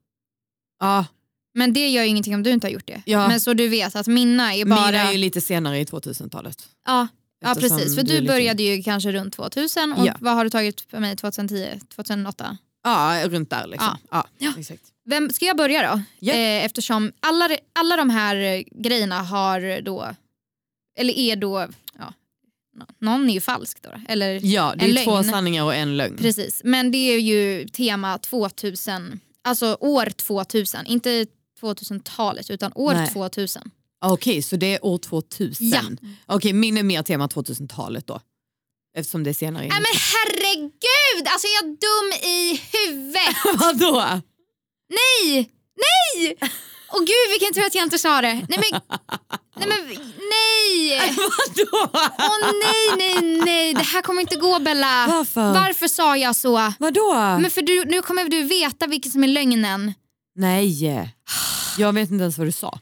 [SPEAKER 2] ja,
[SPEAKER 1] Men det gör ju ingenting om du inte har gjort det.
[SPEAKER 2] Ja.
[SPEAKER 1] Men så du vet att mina är bara...
[SPEAKER 2] Mina är ju lite senare i 2000-talet.
[SPEAKER 1] ja, ja
[SPEAKER 2] Eftersom
[SPEAKER 1] precis, för
[SPEAKER 2] är
[SPEAKER 1] du
[SPEAKER 2] lite-
[SPEAKER 1] började ju kanske runt 2000 och
[SPEAKER 2] Ja.
[SPEAKER 1] vad har du tagit för mig 2010, 2008?
[SPEAKER 2] Ja, runt där liksom. Ja.
[SPEAKER 1] Ja.
[SPEAKER 2] Exakt.
[SPEAKER 1] Vem, ska jag börja då?
[SPEAKER 2] Ja.
[SPEAKER 1] Eh, eftersom alla, alla de här eh, grejerna har då, eller är då, ja, nå- någon är ju falsk då. då, Eller,
[SPEAKER 2] Ja, det
[SPEAKER 1] En
[SPEAKER 2] är två
[SPEAKER 1] lögn.
[SPEAKER 2] sanningar och en lögn.
[SPEAKER 1] Precis, men det är ju tema 2000, alltså år 2000, inte 2000-talet utan år
[SPEAKER 2] Nej.
[SPEAKER 1] 2000.
[SPEAKER 2] Okej, så det är år 2000.
[SPEAKER 1] Ja.
[SPEAKER 2] Okej, min är mer tema 2000-talet då. Eftersom det är senare.
[SPEAKER 1] Nej men herregud, alltså är jag dum i huvudet? Ah.
[SPEAKER 2] Vadå?
[SPEAKER 1] Nej! Nej! Åh gud vilken tur att jag inte sa det. Nej men, nej! Men, nej.
[SPEAKER 2] Vadå?
[SPEAKER 1] Åh nej, nej, nej. Det här kommer inte gå Bella.
[SPEAKER 2] Varför?
[SPEAKER 1] Varför sa jag så?
[SPEAKER 2] Vadå?
[SPEAKER 1] Men för du, nu kommer du veta vilken som är lögnen.
[SPEAKER 2] Nej, jag vet inte ens vad du sa.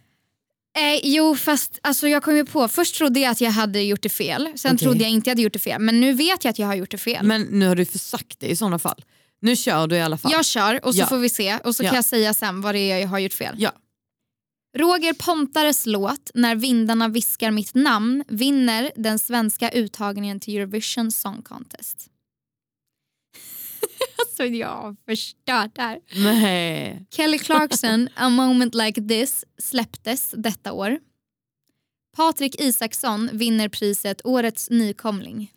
[SPEAKER 1] Eh, jo fast alltså, jag kom ju på, först trodde jag att jag hade gjort det fel. Sen
[SPEAKER 2] Okej.
[SPEAKER 1] trodde jag inte jag hade gjort det fel. Men nu vet jag att jag har gjort det fel.
[SPEAKER 2] Men nu har du försagt det i sådana fall. Nu kör du i alla fall.
[SPEAKER 1] Jag kör och så
[SPEAKER 2] Ja.
[SPEAKER 1] får vi se och så
[SPEAKER 2] Ja.
[SPEAKER 1] kan jag säga sen vad det är jag har gjort fel.
[SPEAKER 2] Ja.
[SPEAKER 1] Roger Pontares låt När vindarna viskar mitt namn vinner den svenska uttagningen till Eurovision Song Contest. Alltså jag har förstört det här.
[SPEAKER 2] Nej.
[SPEAKER 1] Kelly Clarkson, A moment like this, släpptes detta år. Patrik Isaksson vinner priset Årets nykomling.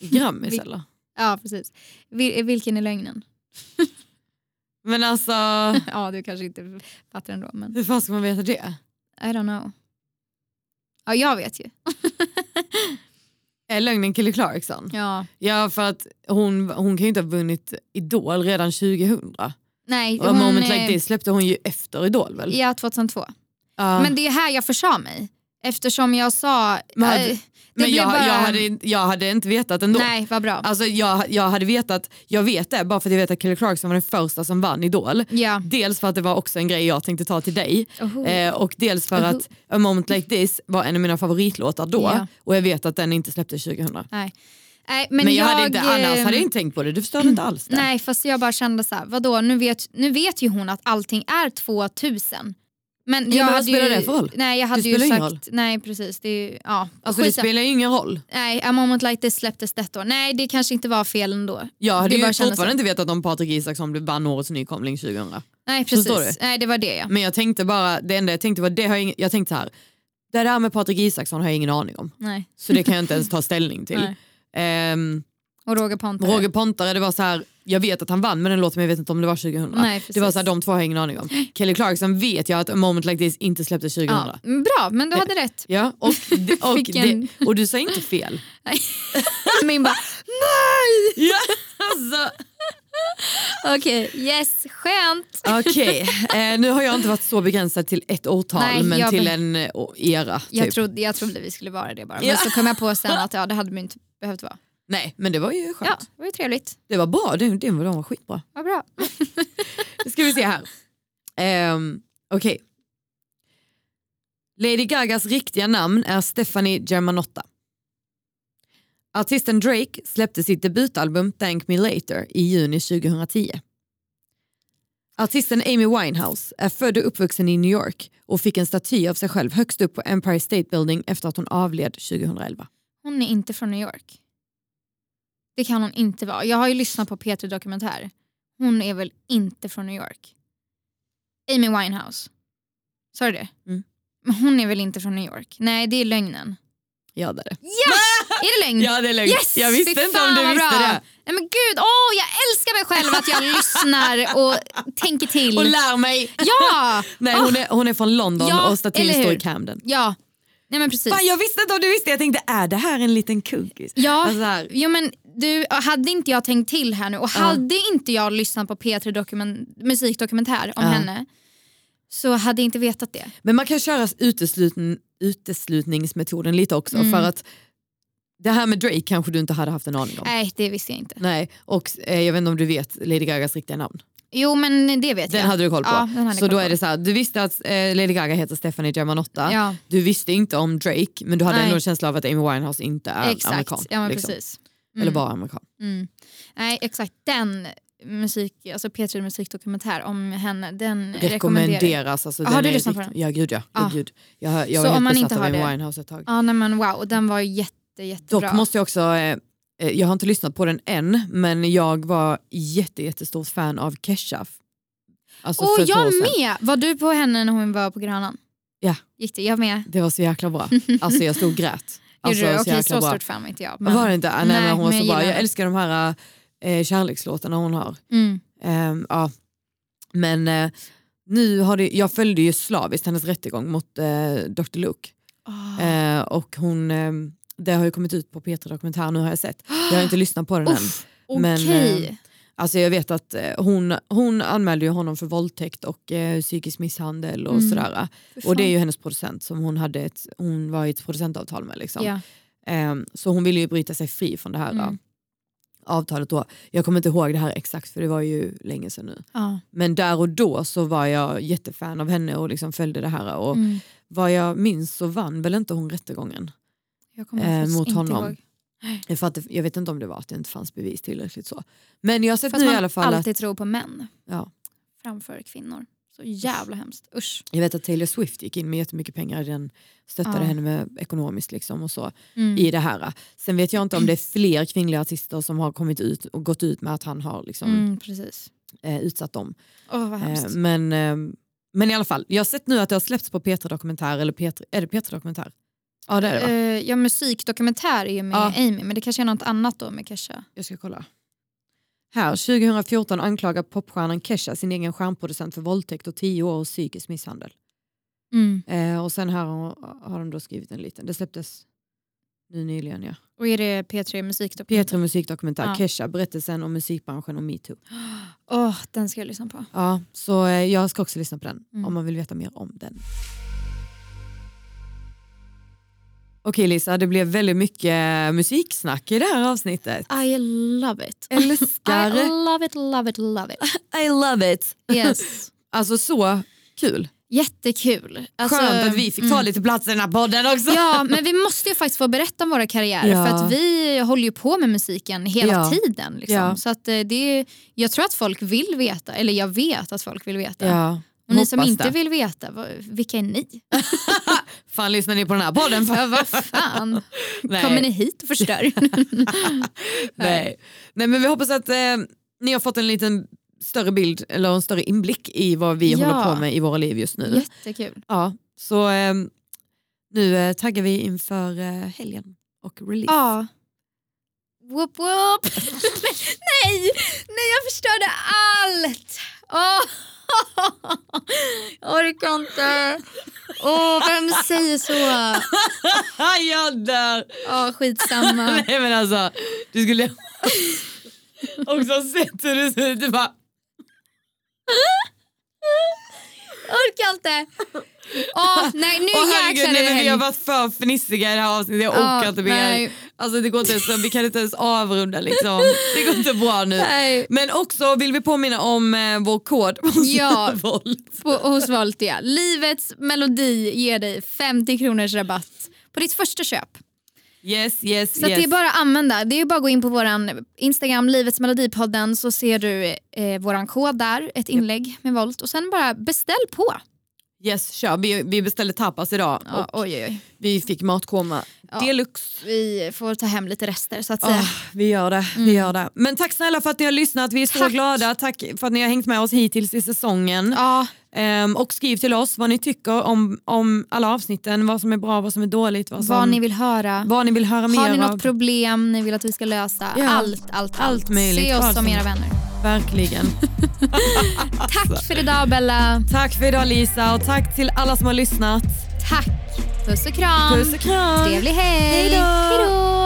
[SPEAKER 2] Grammis
[SPEAKER 1] Vi-
[SPEAKER 2] eller?
[SPEAKER 1] Ja, precis. Vil- vilken är lögnen?
[SPEAKER 2] Men alltså,
[SPEAKER 1] Ja, du kanske inte fattar ändå, men
[SPEAKER 2] hur fan ska man veta det?
[SPEAKER 1] I don't know. Ja, jag vet ju.
[SPEAKER 2] Är lögnen Kelly Clarkson?
[SPEAKER 1] Ja.
[SPEAKER 2] Ja för att hon, hon kan ju inte ha vunnit Idol redan 2000.
[SPEAKER 1] Nej,
[SPEAKER 2] Och Moment
[SPEAKER 1] eh,
[SPEAKER 2] Like This släppte hon ju efter Idol väl?
[SPEAKER 1] Ja, 2002.
[SPEAKER 2] Ja.
[SPEAKER 1] Men det är här jag försa mig. Eftersom jag sa...
[SPEAKER 2] Men hade-
[SPEAKER 1] eh, det
[SPEAKER 2] Men
[SPEAKER 1] blev
[SPEAKER 2] jag,
[SPEAKER 1] bara-
[SPEAKER 2] jag, hade, jag hade inte vetat ändå.
[SPEAKER 1] Nej, vad bra.
[SPEAKER 2] Alltså jag, jag hade vetat, jag vet det bara för att jag vet att Kelly Clarkson var den första som vann Idol.
[SPEAKER 1] Ja.
[SPEAKER 2] Dels för att det var också en grej jag tänkte ta till dig
[SPEAKER 1] Oho.
[SPEAKER 2] eh, och dels för
[SPEAKER 1] Oho.
[SPEAKER 2] att A moment like this var en av mina favoritlåtar då
[SPEAKER 1] Ja.
[SPEAKER 2] och jag vet att den inte släpptes 2000. Men,
[SPEAKER 1] Nej, men,
[SPEAKER 2] jag, hade inte, annars
[SPEAKER 1] eh,
[SPEAKER 2] hade jag inte tänkt på det, du förstår inte alls det.
[SPEAKER 1] Nej, fast jag bara kände så här, vadå, nu vet, nu vet ju hon att allting är 2000. Men jag
[SPEAKER 2] men vad
[SPEAKER 1] hade ju,
[SPEAKER 2] spelar det för roll?
[SPEAKER 1] Nej, jag hade ju
[SPEAKER 2] spelar ingen
[SPEAKER 1] sagt,
[SPEAKER 2] roll.
[SPEAKER 1] nej precis, det är ju, ja.
[SPEAKER 2] Alltså det
[SPEAKER 1] skitsa-
[SPEAKER 2] spelar ju ingen roll.
[SPEAKER 1] nej, A moment like this släpptes detta år. Nej, det kanske inte var fel ändå.
[SPEAKER 2] Jag
[SPEAKER 1] Det
[SPEAKER 2] hade
[SPEAKER 1] bara
[SPEAKER 2] ju
[SPEAKER 1] kändes
[SPEAKER 2] fortfarande inte vetat om Patrik Isaksson blev vann årets nykomling 2000.
[SPEAKER 1] Nej,
[SPEAKER 2] Förstår
[SPEAKER 1] precis. Nej, det var det ja.
[SPEAKER 2] Men jag tänkte bara, det enda jag tänkte var, det har jag, ing- jag tänkte så här, det där med Patrik Isaksson har jag ingen aning om.
[SPEAKER 1] Nej.
[SPEAKER 2] Så det kan jag inte ens ta ställning till.
[SPEAKER 1] Nej.
[SPEAKER 2] Ehm,
[SPEAKER 1] Och Roger Pontare.
[SPEAKER 2] Roger Pontare, det var så här, jag vet att han vann men den låten men jag vet inte om det var 2000.
[SPEAKER 1] Nej, precis.
[SPEAKER 2] det var så här, de två har jag ingen aning om. Kelly Clarkson vet jag att A moment like this inte släpptes 2000.
[SPEAKER 1] ja. Mm,
[SPEAKER 2] Ja.
[SPEAKER 1] Bra, men du hade rätt.
[SPEAKER 2] och, det, och,
[SPEAKER 1] Vilken-
[SPEAKER 2] det, och du sa inte fel.
[SPEAKER 1] Min bara,
[SPEAKER 2] Ja, alltså.
[SPEAKER 1] okej, yes, skönt.
[SPEAKER 2] Okej, eh, nu har jag inte varit så begränsad till ett årtal
[SPEAKER 1] Nej,
[SPEAKER 2] men
[SPEAKER 1] jag
[SPEAKER 2] till
[SPEAKER 1] be-
[SPEAKER 2] en eh, å- era. Typ.
[SPEAKER 1] Jag, trodde, jag trodde vi skulle vara det bara, men
[SPEAKER 2] Ja.
[SPEAKER 1] så kom jag på sen att ja, det hade man inte behövt vara.
[SPEAKER 2] Nej men det var ju skönt.
[SPEAKER 1] Ja, det var ju trevligt.
[SPEAKER 2] Det var bra, det, det var, de var skitbra.
[SPEAKER 1] Vad bra.
[SPEAKER 2] Nu ska vi se här. Um, Okej. Lady Gagas riktiga namn är Stephanie Germanotta. Artisten Drake släppte sitt debutalbum Thank Me Later i juni 2010. Artisten Amy Winehouse är född och uppvuxen i New York och fick en staty av sig själv högst upp på Empire State Building efter att hon avled 2011.
[SPEAKER 1] Hon är inte från New York. Det kan hon inte vara. Jag har ju lyssnat på Peter Dokumentär. Hon är väl inte från New York? Amy Winehouse. Sa du det?
[SPEAKER 2] Mm.
[SPEAKER 1] Men hon är väl inte från New York? Nej, det är lögnen.
[SPEAKER 2] Ja, det är det.
[SPEAKER 1] Är det lögn?
[SPEAKER 2] Ja, det är lögn.
[SPEAKER 1] Yes!
[SPEAKER 2] Jag visste
[SPEAKER 1] Fy
[SPEAKER 2] inte
[SPEAKER 1] fan,
[SPEAKER 2] om du
[SPEAKER 1] vad
[SPEAKER 2] visste
[SPEAKER 1] bra.
[SPEAKER 2] det.
[SPEAKER 1] Nej, men gud, åh, jag älskar mig själv att jag lyssnar och tänker till.
[SPEAKER 2] Och lär mig!
[SPEAKER 1] ja!
[SPEAKER 2] Nej, hon är, hon är från London
[SPEAKER 1] Ja,
[SPEAKER 2] och statyn
[SPEAKER 1] eller hur?
[SPEAKER 2] står i Camden.
[SPEAKER 1] Ja. Nej men precis.
[SPEAKER 2] Fan, jag visste inte om du visste. Jag tänkte, är det här en liten kuggis?
[SPEAKER 1] Ja,
[SPEAKER 2] Alltså här.
[SPEAKER 1] jo, men du, hade inte jag tänkt till här nu och hade inte jag lyssnat på P3 dokumen- musikdokumentär om
[SPEAKER 2] Ja.
[SPEAKER 1] henne så hade jag inte vetat det.
[SPEAKER 2] Men man kan köra uteslutn, uteslutningsmetoden lite också.
[SPEAKER 1] Mm.
[SPEAKER 2] För att det här med Drake kanske du inte hade haft en aning om.
[SPEAKER 1] Nej, det visste jag inte.
[SPEAKER 2] Nej, och eh, jag vet inte om du vet Lady Gagas riktiga namn.
[SPEAKER 1] Jo, men det vet
[SPEAKER 2] Den
[SPEAKER 1] jag.
[SPEAKER 2] hade du koll på.
[SPEAKER 1] Ja, den hade jag
[SPEAKER 2] så
[SPEAKER 1] koll
[SPEAKER 2] då
[SPEAKER 1] på.
[SPEAKER 2] är det så här, du visste att eh, Lady Gaga heter Stephanie Germanotta.
[SPEAKER 1] Ja.
[SPEAKER 2] Du visste inte om Drake men du hade
[SPEAKER 1] Nej.
[SPEAKER 2] ändå en känsla av att Amy Winehouse inte är
[SPEAKER 1] Exakt.
[SPEAKER 2] amerikan.
[SPEAKER 1] ja, men
[SPEAKER 2] liksom.
[SPEAKER 1] precis.
[SPEAKER 2] Eller bara amerikan.
[SPEAKER 1] Mm. Nej, exakt. Den musik, alltså P3 musikdokumentär om henne, den rekommenderar jag.
[SPEAKER 2] Rekommenderas. Alltså,
[SPEAKER 1] Har
[SPEAKER 2] den
[SPEAKER 1] du
[SPEAKER 2] är
[SPEAKER 1] lyssnat på
[SPEAKER 2] rikt- Ja gud ja. ja.
[SPEAKER 1] Ah.
[SPEAKER 2] Gud. Jag, jag
[SPEAKER 1] Så
[SPEAKER 2] var
[SPEAKER 1] om man
[SPEAKER 2] helt
[SPEAKER 1] inte
[SPEAKER 2] besatt
[SPEAKER 1] har
[SPEAKER 2] av Amy
[SPEAKER 1] det-
[SPEAKER 2] Winehouse ett tag.
[SPEAKER 1] Ja, nej, men wow, den var jätte, jättebra.
[SPEAKER 2] Dock måste jag också, eh, eh, jag har inte lyssnat på den än, men jag var jätte, jättestort fan av Kesha. Alltså
[SPEAKER 1] och
[SPEAKER 2] för ett år
[SPEAKER 1] jag
[SPEAKER 2] sedan.
[SPEAKER 1] med! Var du på henne när hon var på Grönan?
[SPEAKER 2] Ja.
[SPEAKER 1] Gick det? Jag med.
[SPEAKER 2] Det var så jäkla bra. Alltså jag stod och grät.
[SPEAKER 1] Gjorde
[SPEAKER 2] Alltså,
[SPEAKER 1] du? Okej,
[SPEAKER 2] jäkla
[SPEAKER 1] så
[SPEAKER 2] bra.
[SPEAKER 1] stort fan var inte jag. men-
[SPEAKER 2] Var det inte? Nej,
[SPEAKER 1] Nej,
[SPEAKER 2] men hon var
[SPEAKER 1] men
[SPEAKER 2] så
[SPEAKER 1] jag
[SPEAKER 2] bra.
[SPEAKER 1] gillar
[SPEAKER 2] Jag
[SPEAKER 1] henne.
[SPEAKER 2] älskar de här eh, kärlekslåtarna hon har.
[SPEAKER 1] Mm.
[SPEAKER 2] Ehm, ja. Men eh, nu har det, jag följde ju slaviskt hennes rättegång mot eh, Dr. Luke.
[SPEAKER 1] Oh.
[SPEAKER 2] Eh, och hon, ehm, det har ju kommit ut på Peter Dokumentär nu har jag sett. Jag har inte lyssnat på den än.
[SPEAKER 1] Uff,
[SPEAKER 2] men,
[SPEAKER 1] Okej.
[SPEAKER 2] eh, Alltså jag vet att eh, hon, hon anmälde ju honom för våldtäkt och eh, psykisk misshandel och
[SPEAKER 1] Mm.
[SPEAKER 2] sådär.
[SPEAKER 1] För
[SPEAKER 2] Och det är
[SPEAKER 1] fan.
[SPEAKER 2] ju hennes producent som hon, hade ett, hon var i ett producentavtal med. Liksom.
[SPEAKER 1] Ja.
[SPEAKER 2] Ehm, så hon ville ju bryta sig fri från det här
[SPEAKER 1] Mm.
[SPEAKER 2] eh, avtalet då. Jag kommer inte ihåg det här exakt för det var ju länge sedan nu.
[SPEAKER 1] Ja.
[SPEAKER 2] Men där och då så var jag jättefan av henne och liksom följde det här. Och
[SPEAKER 1] Mm.
[SPEAKER 2] vad jag minns så vann väl inte hon rättegången.
[SPEAKER 1] Jag kommer
[SPEAKER 2] eh,
[SPEAKER 1] faktiskt
[SPEAKER 2] mot
[SPEAKER 1] inte
[SPEAKER 2] honom.
[SPEAKER 1] ihåg.
[SPEAKER 2] För att det, jag vet inte om det var att det inte fanns bevis tillräckligt så. Men jag har sett
[SPEAKER 1] För att
[SPEAKER 2] nu i
[SPEAKER 1] man
[SPEAKER 2] alla fall att
[SPEAKER 1] alltid tror på män
[SPEAKER 2] Ja.
[SPEAKER 1] framför kvinnor. Så jävla hemskt. Usch.
[SPEAKER 2] Jag vet att Taylor Swift gick in med jättemycket pengar, den stöttade
[SPEAKER 1] Ja.
[SPEAKER 2] henne med ekonomiskt liksom och så
[SPEAKER 1] Mm.
[SPEAKER 2] i det här. Sen vet jag inte om det är fler kvinnliga artister som har kommit ut och gått ut med att han har liksom,
[SPEAKER 1] Mm, precis.
[SPEAKER 2] eh, utsatt dem.
[SPEAKER 1] Åh, vad hemskt.
[SPEAKER 2] Eh, men, eh, men i alla fall, jag har sett nu att det har släppts på Peter Dokumentär, eller Peter, är det Peter Dokumentär? Ja det är det va?
[SPEAKER 1] Eh, ja, musikdokumentär är ju med
[SPEAKER 2] Ja.
[SPEAKER 1] Amy, men det kanske är något annat då med Kesha.
[SPEAKER 2] Jag ska kolla. Här, 2014 anklagar popstjärnan Kesha sin egen stjärnproducent för våldtäkt och 10 år och psykisk misshandel.
[SPEAKER 1] Mm.
[SPEAKER 2] Eh, och sen här har, har de då skrivit en liten, det släpptes nu nyligen ja.
[SPEAKER 1] Och är det P3 musikdokumentär?
[SPEAKER 2] Peter Musikdokumentär,
[SPEAKER 1] Ja.
[SPEAKER 2] Kesha, berättelsen om musikbranschen och metoo.
[SPEAKER 1] Åh, den ska jag lyssna på.
[SPEAKER 2] Ja, så eh, jag ska också lyssna på den
[SPEAKER 1] Mm.
[SPEAKER 2] om man vill veta mer om den. Okej Lisa, det blev väldigt mycket eh, musiksnack i det här avsnittet.
[SPEAKER 1] I love it.
[SPEAKER 2] Älskar,
[SPEAKER 1] I love it, love it, love it.
[SPEAKER 2] I love it.
[SPEAKER 1] Yes.
[SPEAKER 2] Alltså så kul.
[SPEAKER 1] Jättekul. Alltså,
[SPEAKER 2] Skönt att vi fick ta
[SPEAKER 1] mm.
[SPEAKER 2] lite plats i den här podden också.
[SPEAKER 1] Ja, men vi måste ju faktiskt få berätta om våra karriärer
[SPEAKER 2] Ja.
[SPEAKER 1] för att vi håller ju på med musiken hela
[SPEAKER 2] Ja.
[SPEAKER 1] tiden. Liksom.
[SPEAKER 2] Ja.
[SPEAKER 1] Så att eh, det är, jag tror att folk vill veta, eller jag vet att folk vill veta.
[SPEAKER 2] Ja,
[SPEAKER 1] Och ni som
[SPEAKER 2] hoppas
[SPEAKER 1] inte
[SPEAKER 2] det.
[SPEAKER 1] vill veta, vad, vilka är ni?
[SPEAKER 2] Fan lyssnar ni på den här podden?
[SPEAKER 1] Ja, vad fan,
[SPEAKER 2] Nej.
[SPEAKER 1] kommer ni hit och förstör?
[SPEAKER 2] Nej. Nej men vi hoppas att eh, ni har fått en liten större bild eller en större inblick i vad vi
[SPEAKER 1] Ja.
[SPEAKER 2] håller på med i våra liv just nu.
[SPEAKER 1] Jättekul.
[SPEAKER 2] Ja, så eh, nu eh, taggar vi inför eh, helgen och release.
[SPEAKER 1] Ja. Whoop, whoop. Nej, nej jag förstörde allt. Åh, Jag orkar inte. Åh, vem säger så?
[SPEAKER 2] jag dör!
[SPEAKER 1] Ja, skitsamma.
[SPEAKER 2] Nej men alltså, du skulle också ha sett hur du ser ut. Du bara,
[SPEAKER 1] Jag orkar inte. Åh, nej, nu
[SPEAKER 2] åh
[SPEAKER 1] jäklar
[SPEAKER 2] herregud,
[SPEAKER 1] är
[SPEAKER 2] nej,
[SPEAKER 1] det
[SPEAKER 2] men
[SPEAKER 1] helg.
[SPEAKER 2] vi har varit för fnissiga i det här avsnittet. Jag
[SPEAKER 1] Ja,
[SPEAKER 2] orkar inte mer.
[SPEAKER 1] Ah, nej.
[SPEAKER 2] Alltså det går inte ens, vi kan inte ens avrunda liksom. Det går inte bra nu.
[SPEAKER 1] Nej.
[SPEAKER 2] Men också vill vi påminna om eh, vår kod på
[SPEAKER 1] Ja.
[SPEAKER 2] Snövåld.
[SPEAKER 1] på, hos Voltia. Livets melodi ger dig 50 kronors rabatt på ditt första köp.
[SPEAKER 2] Yes, yes,
[SPEAKER 1] Så att
[SPEAKER 2] yes.
[SPEAKER 1] det är bara att använda. Det är bara att gå in på vår Instagram, Livets Melodipodden, så ser du eh, vår kod där, ett inlägg med Volt. Och sen bara beställ på.
[SPEAKER 2] yes kör. Vi, vi beställde tapas idag
[SPEAKER 1] Ja,
[SPEAKER 2] och
[SPEAKER 1] oj, oj, oj.
[SPEAKER 2] vi fick matkoma
[SPEAKER 1] Ja.
[SPEAKER 2] deluxe.
[SPEAKER 1] Vi får ta hem lite rester så att säga.
[SPEAKER 2] Ah, vi gör det, vi gör det. Men tack snälla för att ni har lyssnat, vi är så
[SPEAKER 1] Mm. Tack.
[SPEAKER 2] glada. Tack för att ni har hängt med oss hittills i säsongen.
[SPEAKER 1] Ja,
[SPEAKER 2] Ehm, och skriv till oss vad ni tycker om, om alla avsnitten, vad som är bra, vad som är dåligt, vad, som,
[SPEAKER 1] vad ni vill höra.
[SPEAKER 2] vad ni vill höra mer
[SPEAKER 1] Har ni
[SPEAKER 2] av.
[SPEAKER 1] något problem ni vill att vi ska lösa?
[SPEAKER 2] Ja.
[SPEAKER 1] Allt, allt, allt.
[SPEAKER 2] Allt möjligt.
[SPEAKER 1] Se oss
[SPEAKER 2] Allt
[SPEAKER 1] som
[SPEAKER 2] som-
[SPEAKER 1] era vänner.
[SPEAKER 2] Verkligen.
[SPEAKER 1] Tack för idag Bella.
[SPEAKER 2] tack för idag Lisa och tack till alla som har lyssnat.
[SPEAKER 1] Tack. Puss och kram.
[SPEAKER 2] Puss och kram!
[SPEAKER 1] Trevlig helg.
[SPEAKER 2] Hej då.
[SPEAKER 1] Hej då.